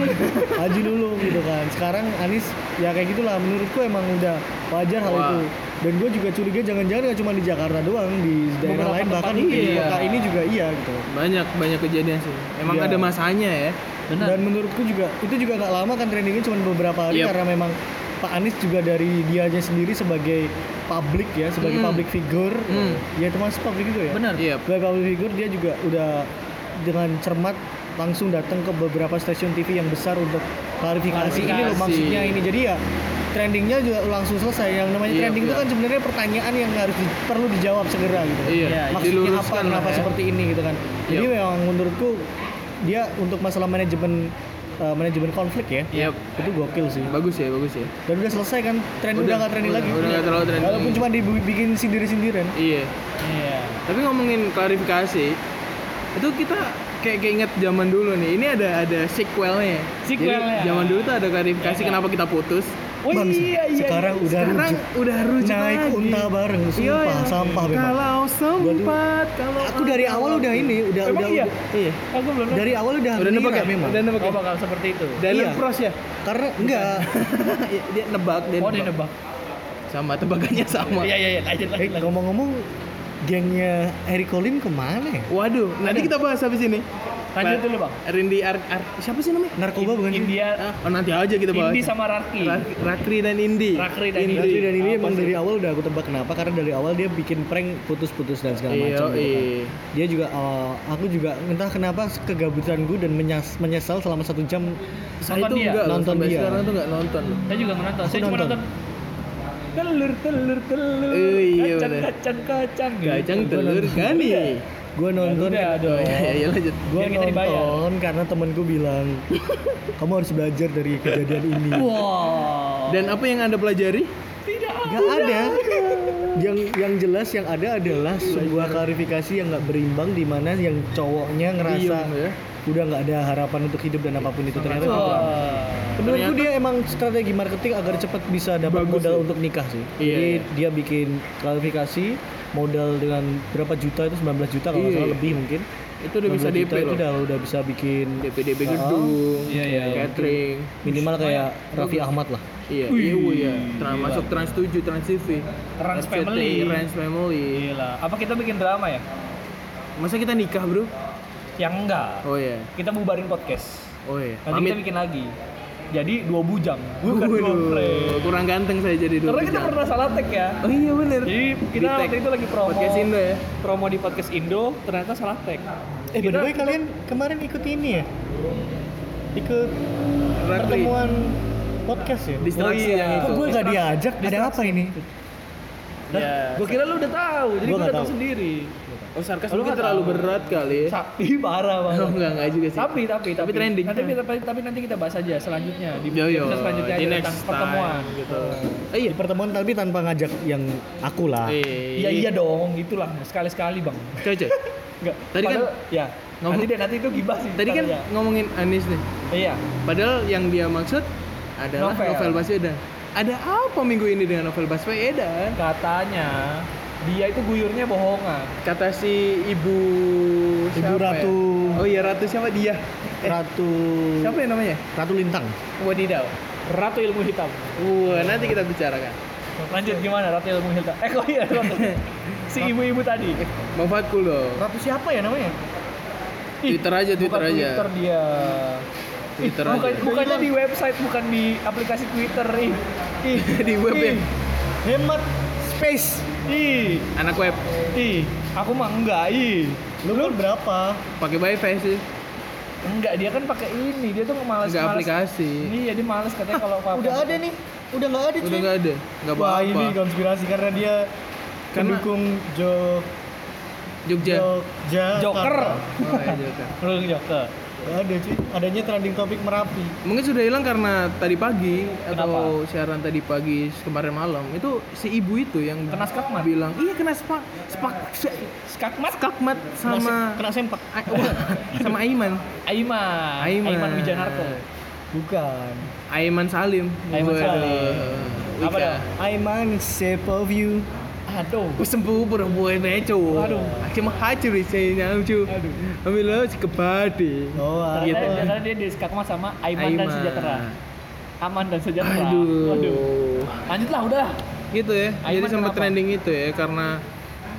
Speaker 3: Haji Lulung gitu kan. Sekarang Anies ya kayak gitulah menurutku emang udah wajar hal
Speaker 2: Wah.
Speaker 3: itu. Dan gue juga curiga jangan-jangan nggak cuma di Jakarta doang, di daerah
Speaker 1: Beberapa
Speaker 3: lain
Speaker 1: tempat
Speaker 3: bahkan di
Speaker 1: iya.
Speaker 3: kota ini juga iya gitu.
Speaker 2: Banyak banyak kejadian sih. Emang
Speaker 3: Iya.
Speaker 2: ada masanya ya.
Speaker 1: Benar. Iya.
Speaker 3: Dan menurutku juga itu juga nggak lama kan trendingnya cuma beberapa hari
Speaker 2: Yep.
Speaker 3: karena memang Pak Anies juga dari dianya sendiri sebagai public ya, sebagai
Speaker 2: Mm.
Speaker 3: public figure,
Speaker 2: Mm.
Speaker 3: ya termasuk public figure ya.
Speaker 1: Hmm. Benar.
Speaker 2: Iya.
Speaker 3: Sebagai public figure dia juga udah dengan cermat langsung datang ke beberapa stasiun TV yang besar untuk klarifikasi ini loh
Speaker 2: Klarifikasi.
Speaker 3: maksudnya ini. Jadi ya trendingnya juga langsung selesai. Yang namanya
Speaker 2: Iya,
Speaker 3: trending itu
Speaker 2: iya.
Speaker 3: kan sebenarnya pertanyaan yang harus di- perlu dijawab segera gitu
Speaker 2: Iya,
Speaker 3: maksudnya apa
Speaker 2: diluruskan lah
Speaker 3: kenapa
Speaker 2: ya. Iya.
Speaker 3: seperti ini gitu kan jadi
Speaker 2: Yep.
Speaker 3: memang menurutku dia untuk masalah manajemen eh, manajemen konflik ya
Speaker 2: Yap.
Speaker 3: itu gokil sih
Speaker 2: iya. Bagus ya, bagus ya.
Speaker 3: dan udah selesai kan tren udah nggak trending
Speaker 2: udah,
Speaker 3: lagi
Speaker 2: Udah nggak terlalu trending.
Speaker 3: walaupun cuma dibikin sendiri-sindiran
Speaker 2: Iya.
Speaker 1: Iya.
Speaker 2: Tapi ngomongin klarifikasi, itu kita kayak keinget zaman dulu nih. Ini ada ada sequelnya.
Speaker 1: Sequelnya.
Speaker 3: ya?
Speaker 2: Jadi, zaman dulu tuh ada klarifikasi kenapa kita putus.
Speaker 1: Oh
Speaker 3: Bang,
Speaker 1: iya iya.
Speaker 3: sekarang Iya. udah
Speaker 2: Sekarang
Speaker 3: rujuk.
Speaker 2: udah rujuk
Speaker 3: naik
Speaker 2: lagi.
Speaker 3: unta bareng sumpah
Speaker 2: Yoi.
Speaker 3: sampah memang
Speaker 2: Kalau sempat, kalau
Speaker 3: aku dari awal udah ini udah
Speaker 1: Emang
Speaker 3: udah
Speaker 1: iya?
Speaker 3: udah- iya.
Speaker 1: Aku belum.
Speaker 3: dari awal udah
Speaker 2: Udah nebak
Speaker 3: ngira
Speaker 2: ya?
Speaker 3: memang
Speaker 2: Udah nebak
Speaker 1: Oh
Speaker 2: ya?
Speaker 1: bakal seperti itu.
Speaker 2: Daniel
Speaker 3: Iya.
Speaker 2: Cross ya?
Speaker 3: karena enggak
Speaker 2: Iya, dia nebak, dia
Speaker 1: Oh dia nebak.
Speaker 2: Sama tebakannya sama.
Speaker 1: Iya iya iya. Lanjut
Speaker 3: eh,
Speaker 1: lanjut. lanjut.
Speaker 3: ngomong-ngomong gengnya Harry Colin kemana ya?
Speaker 2: Waduh, nanti kita bahas habis ini.
Speaker 1: Lanjut
Speaker 2: Pak-
Speaker 1: dulu bang.
Speaker 2: Rindi Ar, Ar- siapa sih namanya?
Speaker 3: narkoba bukan sih?
Speaker 1: India
Speaker 2: Ah, Oh, nanti aja kita bahas.
Speaker 1: Iya. Indi sama Raki.
Speaker 2: Ra- Rakri dan Indi.
Speaker 1: Rakri dan
Speaker 3: Berarti
Speaker 1: Indi.
Speaker 3: dan ini
Speaker 1: Apa
Speaker 3: emang
Speaker 1: sih?
Speaker 3: dari awal udah aku tebak kenapa karena dari awal dia bikin prank putus-putus dan segala
Speaker 2: Iya,
Speaker 3: macam gitu kan.
Speaker 2: iya.
Speaker 3: Dia juga eh, aku juga entah kenapa kegabutan gue dan menyas- menyesal selama satu jam
Speaker 1: Nonton
Speaker 2: itu
Speaker 1: dia.
Speaker 2: enggak loh,
Speaker 3: Nonton
Speaker 2: sampai
Speaker 3: dia.
Speaker 2: sekarang tuh enggak nonton loh.
Speaker 1: Saya juga nonton. Saya
Speaker 3: Aku
Speaker 1: cuma
Speaker 3: nonton.
Speaker 1: nonton telur telur telur
Speaker 2: Eh, iya,
Speaker 1: kacang,
Speaker 2: bener.
Speaker 1: kacang kacang
Speaker 3: Iya,
Speaker 2: Gajang
Speaker 1: gitu.
Speaker 2: telur gani.
Speaker 3: gue nonton
Speaker 1: udah dong.
Speaker 2: Ya, ya lanjut.
Speaker 3: gue
Speaker 1: Biar kita dibayar.
Speaker 3: nonton karena temenku bilang kamu harus belajar dari kejadian ini
Speaker 1: Wow.
Speaker 2: Dan apa yang Anda pelajari?
Speaker 1: tidak
Speaker 3: nggak ada yang yang jelas yang ada adalah sebuah klarifikasi yang nggak berimbang di mana yang cowoknya ngerasa
Speaker 2: Diem, ya.
Speaker 3: udah nggak ada harapan untuk hidup dan apapun itu ternyata
Speaker 1: Wah.
Speaker 3: tidak. Menurutku
Speaker 2: Ternyata-
Speaker 3: dia emang strategi marketing agar cepat bisa dapat
Speaker 2: Bagus
Speaker 3: modal
Speaker 2: sih.
Speaker 3: untuk nikah sih.
Speaker 2: Iya,
Speaker 3: Jadi
Speaker 2: iya.
Speaker 3: dia bikin klarifikasi modal dengan berapa juta itu 19 juta kalau
Speaker 2: Iya,
Speaker 3: nggak salah
Speaker 2: iya.
Speaker 3: lebih mungkin.
Speaker 2: Itu udah bisa
Speaker 3: 19
Speaker 2: DP
Speaker 3: juta itu
Speaker 2: loh.
Speaker 3: udah udah bisa bikin
Speaker 2: DP DP
Speaker 3: Oh.
Speaker 2: gedung,
Speaker 1: Iya, iya, iya.
Speaker 2: catering.
Speaker 3: minimal kayak Raffi Ahmad lah.
Speaker 2: Iya,
Speaker 1: Wih,
Speaker 2: iya, iya. Trans,
Speaker 1: gila.
Speaker 2: masuk Trans 7, Trans TV.
Speaker 1: Trans
Speaker 2: RCTI,
Speaker 1: Family.
Speaker 2: eh,
Speaker 1: Iya.
Speaker 2: Trans Family.
Speaker 1: Gila. Apa kita bikin drama ya?
Speaker 2: Masa kita nikah, Bro?
Speaker 1: Yang enggak.
Speaker 2: Oh iya.
Speaker 1: Kita bubarin podcast.
Speaker 2: Oh iya.
Speaker 1: Nanti kan kita bikin lagi. Jadi dua bujang. Bukan dua
Speaker 2: Waduh,
Speaker 1: prank.
Speaker 2: kurang ganteng saya jadi dua
Speaker 1: Karena kita
Speaker 2: bujang.
Speaker 1: pernah salah tag ya.
Speaker 2: Oh iya bener.
Speaker 1: Jadi kita
Speaker 2: Di-tag.
Speaker 1: waktu itu lagi promo
Speaker 2: Podcast Indo ya.
Speaker 1: promo di podcast Indo ternyata salah tag.
Speaker 3: Eh by the
Speaker 2: kan?
Speaker 3: way kalian kemarin ikut ini ya? Ikut
Speaker 2: Rakri.
Speaker 3: pertemuan podcast ya?
Speaker 2: Distraksi
Speaker 1: Oh iya.
Speaker 2: yang
Speaker 1: Kok
Speaker 2: itu.
Speaker 3: Kok gue gak diajak? Ada apa ini?
Speaker 1: Nah,
Speaker 2: Gue kira lu udah tahu, jadi gue
Speaker 3: Gua nggak
Speaker 2: datang
Speaker 3: tahu.
Speaker 2: sendiri. Iya. Oh, sarkas
Speaker 1: Lu
Speaker 2: mungkin
Speaker 1: nggak
Speaker 2: terlalu
Speaker 1: tahu.
Speaker 2: berat kali ya.
Speaker 1: Sakti parah banget.
Speaker 3: Iya.
Speaker 2: Oh, enggak, enggak juga sih.
Speaker 1: Tapi tapi
Speaker 2: Tapi trending. kan?
Speaker 1: Nanti tapi, tapi nanti kita bahas aja selanjutnya di
Speaker 2: Yo, yo.
Speaker 1: episode selanjutnya
Speaker 2: Di
Speaker 1: ada
Speaker 2: next
Speaker 1: tentang
Speaker 2: time,
Speaker 1: pertemuan
Speaker 2: gitu.
Speaker 3: Eh, iya. Di pertemuan tapi tanpa ngajak yang aku lah.
Speaker 1: Iya iya dong, itulah sekali-sekali, Bang.
Speaker 2: Ah. Eh, Coy, coy.
Speaker 1: Enggak.
Speaker 2: Tadi kan-
Speaker 1: padahal- ya.
Speaker 2: ngomong-
Speaker 1: Nanti deh nanti itu gibah sih.
Speaker 2: Tadi kan
Speaker 1: ntar ya.
Speaker 2: ngomongin Anies nih.
Speaker 1: iya.
Speaker 2: Padahal yang dia maksud adalah
Speaker 1: Novel.
Speaker 2: novel, Baswedan. Ada apa minggu ini dengan novel Baswedan?
Speaker 1: Katanya dia itu guyurnya bohongan.
Speaker 2: Kata si ibu
Speaker 3: Ibu
Speaker 2: siapa ya?
Speaker 3: Ratu.
Speaker 2: Oh iya Ratu siapa dia? Eh,
Speaker 3: Ratu
Speaker 2: siapa ya namanya?
Speaker 3: Ratu Lintang.
Speaker 2: Wadidaw.
Speaker 1: Ratu ilmu hitam.
Speaker 2: Wah, nanti kita bicarakan.
Speaker 1: Lanjut gimana Ratu ilmu hitam? Eh kok iya Ratu. si ibu-ibu tadi.
Speaker 2: Manfaatku loh.
Speaker 1: Ratu siapa ya namanya?
Speaker 2: Twitter aja, Twitter
Speaker 1: bukan
Speaker 2: aja.
Speaker 1: Twitter dia.
Speaker 2: Twitter
Speaker 1: Ih, bukan,
Speaker 2: aja.
Speaker 1: Bukannya di website, bukan di aplikasi Twitter. Ih, ih,
Speaker 2: Di web ya?
Speaker 1: ih. Hemat
Speaker 3: Space.
Speaker 1: Ih,
Speaker 2: Anak web
Speaker 1: ih. Aku mah enggak, ih.
Speaker 3: Lu kan berapa?
Speaker 2: pakai wifi sih,
Speaker 1: Enggak, dia kan pakai ini. Dia tuh malas
Speaker 2: enggak aplikasi.
Speaker 1: Iya, dia malas katanya kalau pakai.
Speaker 3: Udah ada nih. Udah nggak ada
Speaker 2: Udah
Speaker 3: cuy.
Speaker 2: enggak ada, enggak
Speaker 3: Wah ini
Speaker 2: apa-apa.
Speaker 3: konspirasi karena dia
Speaker 2: Karena-
Speaker 3: pendukung Jo
Speaker 2: Jogja.
Speaker 3: Jogja.
Speaker 1: Joker.
Speaker 2: Oh, iya, Jogja.
Speaker 1: Lu Joker.
Speaker 3: Nggak ada cuy. Adanya trending topik Merapi.
Speaker 2: Mungkin sudah hilang karena tadi pagi atau
Speaker 1: Kenapa?
Speaker 2: siaran tadi pagi kemarin malam itu si ibu itu yang
Speaker 1: Kena skakmat?
Speaker 2: bilang iya kena spak spak
Speaker 1: Skakmat
Speaker 2: skakmat sama
Speaker 3: kena sempak.
Speaker 2: A- bukan, sama Aiman
Speaker 1: Aiman.
Speaker 2: Aiman.
Speaker 1: Wijanarko.
Speaker 3: Bukan.
Speaker 2: Aiman Salim
Speaker 1: Aiman
Speaker 2: Waduh.
Speaker 1: Salim. Apa
Speaker 2: Wika.
Speaker 1: dong?
Speaker 3: I'm on shape of you.
Speaker 1: Aduh.
Speaker 2: Wis sembuh perempuan eco.
Speaker 1: Aduh.
Speaker 2: Akhirnya mah hajar isinya lucu.
Speaker 1: Aduh.
Speaker 2: Ambil lo si kebade.
Speaker 3: Oh,
Speaker 1: Ternyata,
Speaker 2: iya,
Speaker 3: gitu.
Speaker 1: ternyata dia di skakmat sama Aiman, dan
Speaker 2: Aiman.
Speaker 1: Sejahtera. Aman dan Sejahtera.
Speaker 2: Aduh.
Speaker 1: Waduh. Lanjutlah, udah.
Speaker 2: Gitu ya. Jadi
Speaker 1: Aiman
Speaker 2: sempat
Speaker 1: kenapa?
Speaker 2: trending itu ya karena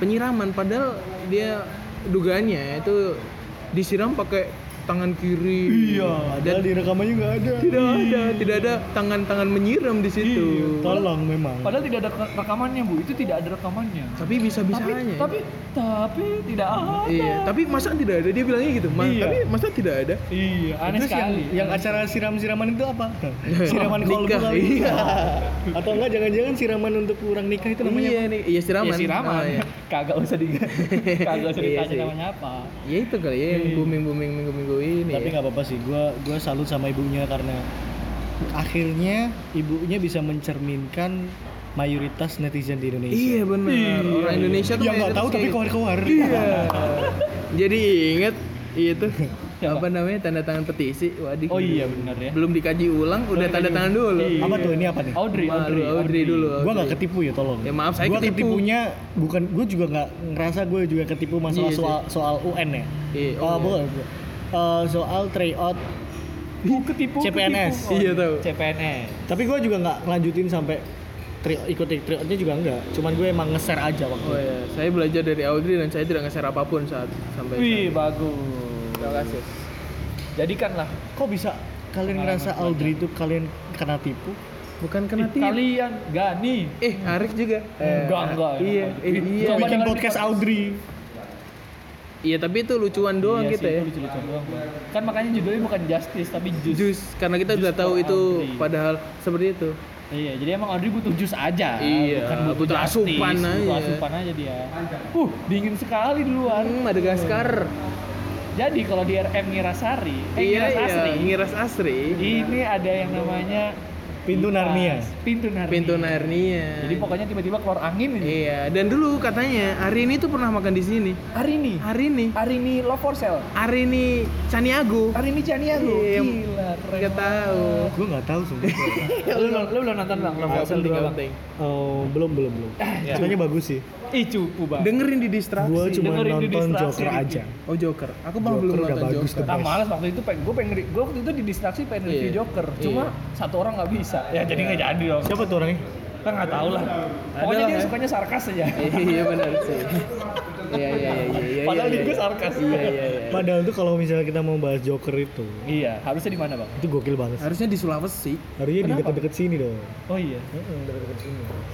Speaker 2: penyiraman padahal dia dugaannya itu disiram pakai tangan kiri.
Speaker 3: Iya, ada
Speaker 2: Dan
Speaker 3: di rekamannya nggak ada.
Speaker 2: tidak ada, tidak ada tangan-tangan menyiram di situ.
Speaker 3: Tolong memang.
Speaker 1: Iya, Padahal tidak ada rekamannya, Bu. Itu tidak ada rekamannya.
Speaker 2: Tapi
Speaker 1: tapi,
Speaker 2: bisa-bisanya. ya.
Speaker 1: tapi, tapi tidak ada.
Speaker 2: Iya, tapi masa tidak ada dia bilangnya gitu. Mas,
Speaker 1: Iya.
Speaker 2: tapi masa tidak ada?
Speaker 1: Iya, aneh
Speaker 3: Terus yang,
Speaker 1: sekali.
Speaker 3: yang acara siram-siraman itu apa? siraman
Speaker 2: Oh,
Speaker 3: kolbu
Speaker 2: nikah,
Speaker 3: kali.
Speaker 2: iya.
Speaker 3: Atau enggak jangan-jangan siraman untuk orang nikah itu namanya
Speaker 2: iya
Speaker 3: apa?
Speaker 2: nih, iya siraman.
Speaker 1: Ya, siraman.
Speaker 2: Oh, iya.
Speaker 1: Kagak usah di kagak usah
Speaker 2: Iya
Speaker 1: ditanya
Speaker 2: sih.
Speaker 1: namanya apa.
Speaker 2: ya itu kali ya
Speaker 1: Iya.
Speaker 2: yang booming booming minggu minggu ini
Speaker 3: Tapi
Speaker 2: ya.
Speaker 3: nggak apa-apa sih. Gua gua salut sama ibunya karena akhirnya ibunya bisa mencerminkan mayoritas netizen di Indonesia.
Speaker 2: iya benar orang Indonesia
Speaker 1: Iya,
Speaker 2: tuh
Speaker 3: Yang nggak
Speaker 2: mayoritas
Speaker 3: tahu tapi
Speaker 2: kayak gitu.
Speaker 3: keluar-keluar.
Speaker 2: iya jadi inget itu
Speaker 1: Siapa?
Speaker 2: apa namanya tanda tangan petisi waduh
Speaker 1: Oh iya benar ya.
Speaker 2: belum dikaji ulang udah tanda
Speaker 1: dikaji
Speaker 2: tangan
Speaker 1: ulang.
Speaker 2: dulu
Speaker 1: Iya.
Speaker 3: Apa tuh ini apa nih?
Speaker 1: Audrey,
Speaker 2: Malu,
Speaker 1: Audrey,
Speaker 2: Audrey dulu.
Speaker 3: Gua nggak ketipu ya tolong.
Speaker 2: Ya, maaf, saya
Speaker 3: gua
Speaker 2: ketipu.
Speaker 3: ketipunya bukan gua juga nggak ngerasa gua juga ketipu masalah
Speaker 2: Iya sih.
Speaker 3: soal soal UN ya.
Speaker 2: Iya,
Speaker 3: oh,
Speaker 2: iya.
Speaker 3: bukan. bukan. Eh, soal tryout
Speaker 1: Bu, ketipu,
Speaker 3: CPNS.
Speaker 1: ketipu.
Speaker 2: Iya, tahu.
Speaker 1: CPNS.
Speaker 3: tapi gue juga nggak lanjutin sampai tri ikut tryoutnya juga enggak cuman gue emang nge-share aja waktu
Speaker 2: oh
Speaker 3: itu.
Speaker 2: iya saya belajar dari Audrey dan saya tidak nge-share apapun saat sampai
Speaker 1: Wih,
Speaker 2: saat-
Speaker 1: bagus.
Speaker 2: terima kasih
Speaker 1: Jadikanlah
Speaker 3: kok bisa kalian
Speaker 1: Pengalaman
Speaker 3: ngerasa
Speaker 1: banyak.
Speaker 3: Audrey itu kalian kena tipu
Speaker 2: bukan kena
Speaker 1: Ih,
Speaker 2: tipu
Speaker 1: kalian Gani.
Speaker 2: eh Arif juga Eh,
Speaker 1: Enggak, enggak.
Speaker 2: iya eh,
Speaker 1: Enggak.
Speaker 2: iya
Speaker 1: Coba
Speaker 3: bikin
Speaker 1: dengerin
Speaker 3: podcast
Speaker 1: podcast.
Speaker 3: Audrey
Speaker 2: iya tapi itu lucuan doang
Speaker 1: Iya sih,
Speaker 2: kita ya
Speaker 1: itu lucu-lucu doang, Bang. Kan makanya judulnya bukan justice tapi jus.
Speaker 2: jus karena kita
Speaker 1: Jus
Speaker 2: sudah tahu
Speaker 1: for
Speaker 2: itu
Speaker 1: Audrey.
Speaker 2: padahal seperti itu
Speaker 1: Iya, jadi emang Audrey butuh jus aja.
Speaker 2: Iya,
Speaker 1: bukan
Speaker 2: butuh
Speaker 1: justice,
Speaker 2: asupan
Speaker 1: Butuh
Speaker 2: aja.
Speaker 1: asupan aja dia. Uh, dingin sekali di luar.
Speaker 2: Hmm, Madagaskar
Speaker 1: Jadi kalau di RM Ngirasari, eh
Speaker 2: iya
Speaker 1: Ngirasasri,
Speaker 2: iya ngiras asri
Speaker 1: ini ada yang namanya kipas.
Speaker 2: Iya.
Speaker 3: Pintu Narnia.
Speaker 1: Pintu Narnia.
Speaker 2: pintu Narnia
Speaker 1: Jadi pokoknya tiba-tiba keluar angin ini.
Speaker 2: iya dan dulu katanya Arini tuh pernah makan di sini
Speaker 1: Arini,
Speaker 2: Arini
Speaker 1: Arini Love for Sale,
Speaker 2: Arini Caniago
Speaker 1: Arini Caniago.
Speaker 2: Iya,
Speaker 1: Gila, keren banget.
Speaker 2: nggak tahu
Speaker 3: gue nggak tahu sumpah
Speaker 1: Lu, belum- lu belum nonton bang Love for
Speaker 2: Nggak
Speaker 1: Sale 3
Speaker 2: penting, nggak
Speaker 1: bang?
Speaker 2: penting.
Speaker 3: oh, belum belum belum
Speaker 1: iya.
Speaker 3: Soalnya bagus sih
Speaker 1: Ih cupu bang.
Speaker 2: dengerin di distraksi
Speaker 3: gue cuma
Speaker 1: dengerin di
Speaker 3: nonton
Speaker 1: distraksi
Speaker 3: Joker
Speaker 1: dikit.
Speaker 3: aja
Speaker 2: oh Joker aku malah
Speaker 3: Joker
Speaker 2: belum
Speaker 3: udah
Speaker 2: nonton
Speaker 3: bagus
Speaker 2: Joker
Speaker 3: tuh.
Speaker 1: Ah males waktu itu pengen gue pengen gue waktu itu di distraksi pengen
Speaker 2: Iya.
Speaker 1: review Joker cuma satu orang nggak bisa ya jadi nggak jadi dong
Speaker 3: siapa tuh orangnya
Speaker 1: kita nggak tahu lah pokoknya
Speaker 2: lah,
Speaker 1: dia
Speaker 2: ya.
Speaker 1: sukanya sarkas aja
Speaker 2: iya benar sih iya iya iya iya iya
Speaker 1: padahal
Speaker 2: iya,
Speaker 1: di gue
Speaker 2: iya.
Speaker 1: sarkas
Speaker 2: iya iya iya
Speaker 3: padahal tuh kalau misalnya kita mau bahas Joker itu
Speaker 1: iya harusnya di mana bang
Speaker 3: itu gokil banget
Speaker 2: harusnya di Sulawesi
Speaker 3: harusnya di
Speaker 1: Kenapa?
Speaker 3: deket-deket sini dong
Speaker 1: oh iya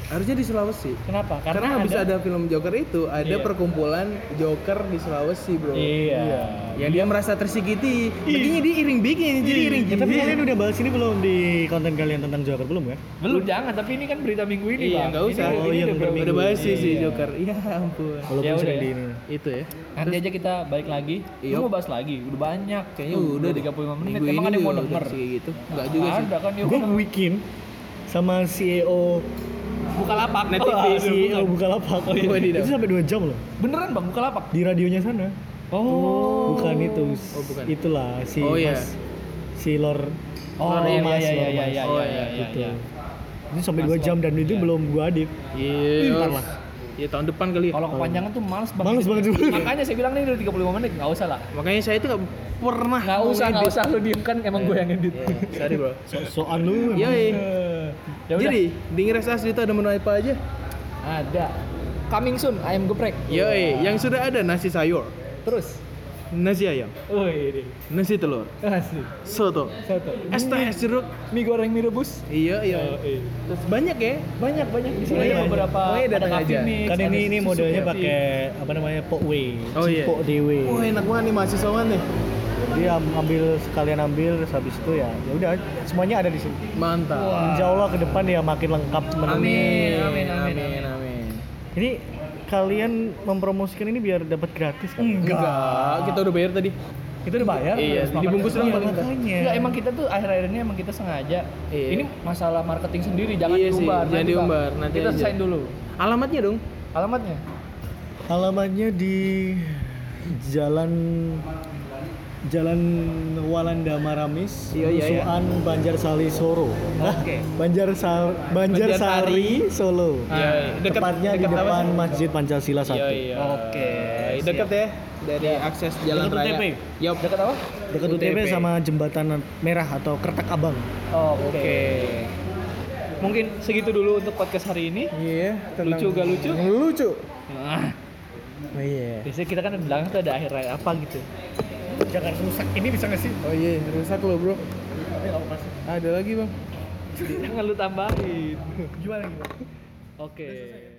Speaker 2: harusnya di Sulawesi
Speaker 1: kenapa karena,
Speaker 2: Karena habis ada film Joker itu, ada
Speaker 1: Iya.
Speaker 2: perkumpulan Joker di Sulawesi, bro.
Speaker 1: iya
Speaker 2: Yang Ya, dia merasa tersikiti. Intinya dia iring bikin, Iya, jadi iring
Speaker 3: Ya, tapi
Speaker 2: jepit.
Speaker 3: kalian udah bahas ini belum di konten kalian tentang Joker belum ya?
Speaker 1: belum jangan tapi ini kan berita berita minggu ini
Speaker 2: Iya,
Speaker 1: bang.
Speaker 2: nggak usah.
Speaker 1: Ini,
Speaker 3: Oh,
Speaker 1: ini udah
Speaker 3: iya, bener,
Speaker 1: berapa
Speaker 2: Udah
Speaker 3: Minggu,
Speaker 2: bahas sih
Speaker 1: iya.
Speaker 2: Joker. Ya ampun.
Speaker 1: Ya
Speaker 3: Walaupun
Speaker 1: udah
Speaker 3: sering
Speaker 1: ya.
Speaker 3: di ini.
Speaker 2: Itu ya.
Speaker 1: Nanti aja kita balik lagi.
Speaker 2: Iya.
Speaker 1: Iya. mau bahas lagi. Udah banyak. Kayaknya
Speaker 2: Tuh,
Speaker 1: udah
Speaker 2: deh.
Speaker 1: 35 menit.
Speaker 2: Minggu
Speaker 1: Emang
Speaker 2: ini
Speaker 1: ada yang mau
Speaker 2: udah
Speaker 1: denger?
Speaker 2: sih gitu. Enggak juga sih.
Speaker 1: Ada kan yuk.
Speaker 3: Gue weekend sama E CEO
Speaker 2: Buka lapak
Speaker 3: Wah,
Speaker 2: Netflix.
Speaker 1: E
Speaker 3: CEO E Bukalapak.
Speaker 2: Oh, iya.
Speaker 3: Itu sampai 2 jam loh
Speaker 1: Beneran bang buka lapak.
Speaker 3: di radionya sana.
Speaker 1: Oh.
Speaker 3: Bukan itu.
Speaker 2: Oh, bukan.
Speaker 3: Itulah si
Speaker 2: Oh, iya.
Speaker 3: Mas- si Lor
Speaker 1: Oh,
Speaker 3: Lor
Speaker 1: iya,
Speaker 3: Mas,
Speaker 1: iya,
Speaker 3: Lor
Speaker 1: iya,
Speaker 3: Mas.
Speaker 1: iya,
Speaker 2: Oh,
Speaker 1: iya,
Speaker 2: iya,
Speaker 1: iya,
Speaker 3: Gitu.
Speaker 1: iya.
Speaker 3: Ini sampai
Speaker 1: Mas
Speaker 3: 2 jam
Speaker 1: Lor.
Speaker 3: dan itu
Speaker 1: Iya.
Speaker 3: belum gua edit.
Speaker 2: Iya.
Speaker 3: Ntar lah.
Speaker 2: Iya tahun depan kali. ya.
Speaker 1: Kalau kepanjangan tuh males banget.
Speaker 3: Males banget juga.
Speaker 1: Makanya saya bilang nih udah 35 menit, enggak usah lah.
Speaker 2: Makanya saya itu nggak pernah.
Speaker 1: Enggak usah,
Speaker 2: Ah, ngedit.
Speaker 1: enggak usah lu diem kan emang gue yang edit.
Speaker 2: Iya, Sorry bro.
Speaker 3: Sok-sokan lu. emang.
Speaker 2: Yoi.
Speaker 1: Ya udah.
Speaker 2: Jadi di Ngeres Asli itu ada menu apa aja?
Speaker 1: Ada. Coming soon ayam geprek.
Speaker 2: Yoi, ya. yang sudah ada nasi sayur,
Speaker 1: Terus.
Speaker 2: nasi ayam,
Speaker 1: Oh ini.
Speaker 2: nasi telur,
Speaker 1: Asli.
Speaker 2: soto,
Speaker 1: Satu.
Speaker 2: es teh es jeruk.
Speaker 1: Mie goreng mie rebus.
Speaker 2: Iya, iya.
Speaker 1: Yoi.
Speaker 2: Terus banyak ya.
Speaker 1: Banyak banyak di sini
Speaker 3: Banyak,
Speaker 1: ada
Speaker 3: banyak.
Speaker 1: beberapa
Speaker 2: Pokoknya
Speaker 1: ada
Speaker 2: datang
Speaker 1: coffee
Speaker 2: aja.
Speaker 1: mix,
Speaker 3: Iya, Kan
Speaker 1: ada
Speaker 3: ini ini
Speaker 1: susu iya.
Speaker 3: modelnya
Speaker 1: kopi.
Speaker 3: pakai apa namanya pokway,
Speaker 2: Oh, iya.
Speaker 3: cipok dewe.
Speaker 2: Wah, enak banget nih mahasiswa banget nih.
Speaker 3: Dia am- ambil sekalian ambil terus habis itu ya ya udah semuanya ada di sini.
Speaker 2: Mantap.
Speaker 3: Insya Allah ke depan ya makin lengkap menunya.
Speaker 2: Amin, amin, amin, amin, amin.
Speaker 3: Ini kalian mempromosikan ini biar dapat gratis kan?
Speaker 2: Enggak, kita udah bayar tadi.
Speaker 1: Itu udah bayar.
Speaker 2: Iya,
Speaker 1: harus makan.
Speaker 2: dibungkus doang
Speaker 1: Iya,
Speaker 2: paling
Speaker 1: makanya.
Speaker 3: enggak.
Speaker 1: Enggak, emang kita tuh akhir-akhir ini emang kita sengaja.
Speaker 2: Iya.
Speaker 1: Ini masalah marketing sendiri, jangan
Speaker 2: Iya sih,
Speaker 1: diumbar.
Speaker 2: jangan
Speaker 1: Nanti, Bang,
Speaker 2: diumbar, nanti
Speaker 1: kita
Speaker 2: aja.
Speaker 1: sign dulu.
Speaker 2: Alamatnya dong.
Speaker 1: Alamatnya?
Speaker 3: Alamannya di Jalan Jalan Walanda Maramis,
Speaker 2: Iya, iya, iya.
Speaker 3: Nusuan Banjarsari
Speaker 1: Oh,
Speaker 3: Solo.
Speaker 1: Oke.
Speaker 3: Banjarsari
Speaker 2: Banjarsari,
Speaker 3: Banjarsari Solo. Ya,
Speaker 2: Iya, dekat-
Speaker 3: Tepatnya di
Speaker 2: dekat apa
Speaker 3: depan
Speaker 2: sih?
Speaker 3: Masjid Pancasila 1.
Speaker 1: Oke,
Speaker 2: Dekat Iya, ya dari akses jalan
Speaker 3: Dekat
Speaker 2: raya.
Speaker 3: UTP.
Speaker 2: Yup.
Speaker 1: Dekat apa?
Speaker 3: Dekat UTP sama jembatan merah atau Kertek Abang.
Speaker 1: Oke. Mungkin segitu dulu untuk podcast hari ini.
Speaker 2: Iya, tentang-
Speaker 1: Lucu gak lucu?
Speaker 2: Lucu.
Speaker 1: Nah,
Speaker 3: Oh iya.
Speaker 1: biasanya kita kan di belakang tuh ada akhir raya apa gitu.
Speaker 3: Jangan rusak. Ini bisa nggak sih?
Speaker 2: Oh iya, rusak lo, Bro. Ada lagi, Bang.
Speaker 1: Jangan lu tambahin. Gimana gimana? Oke.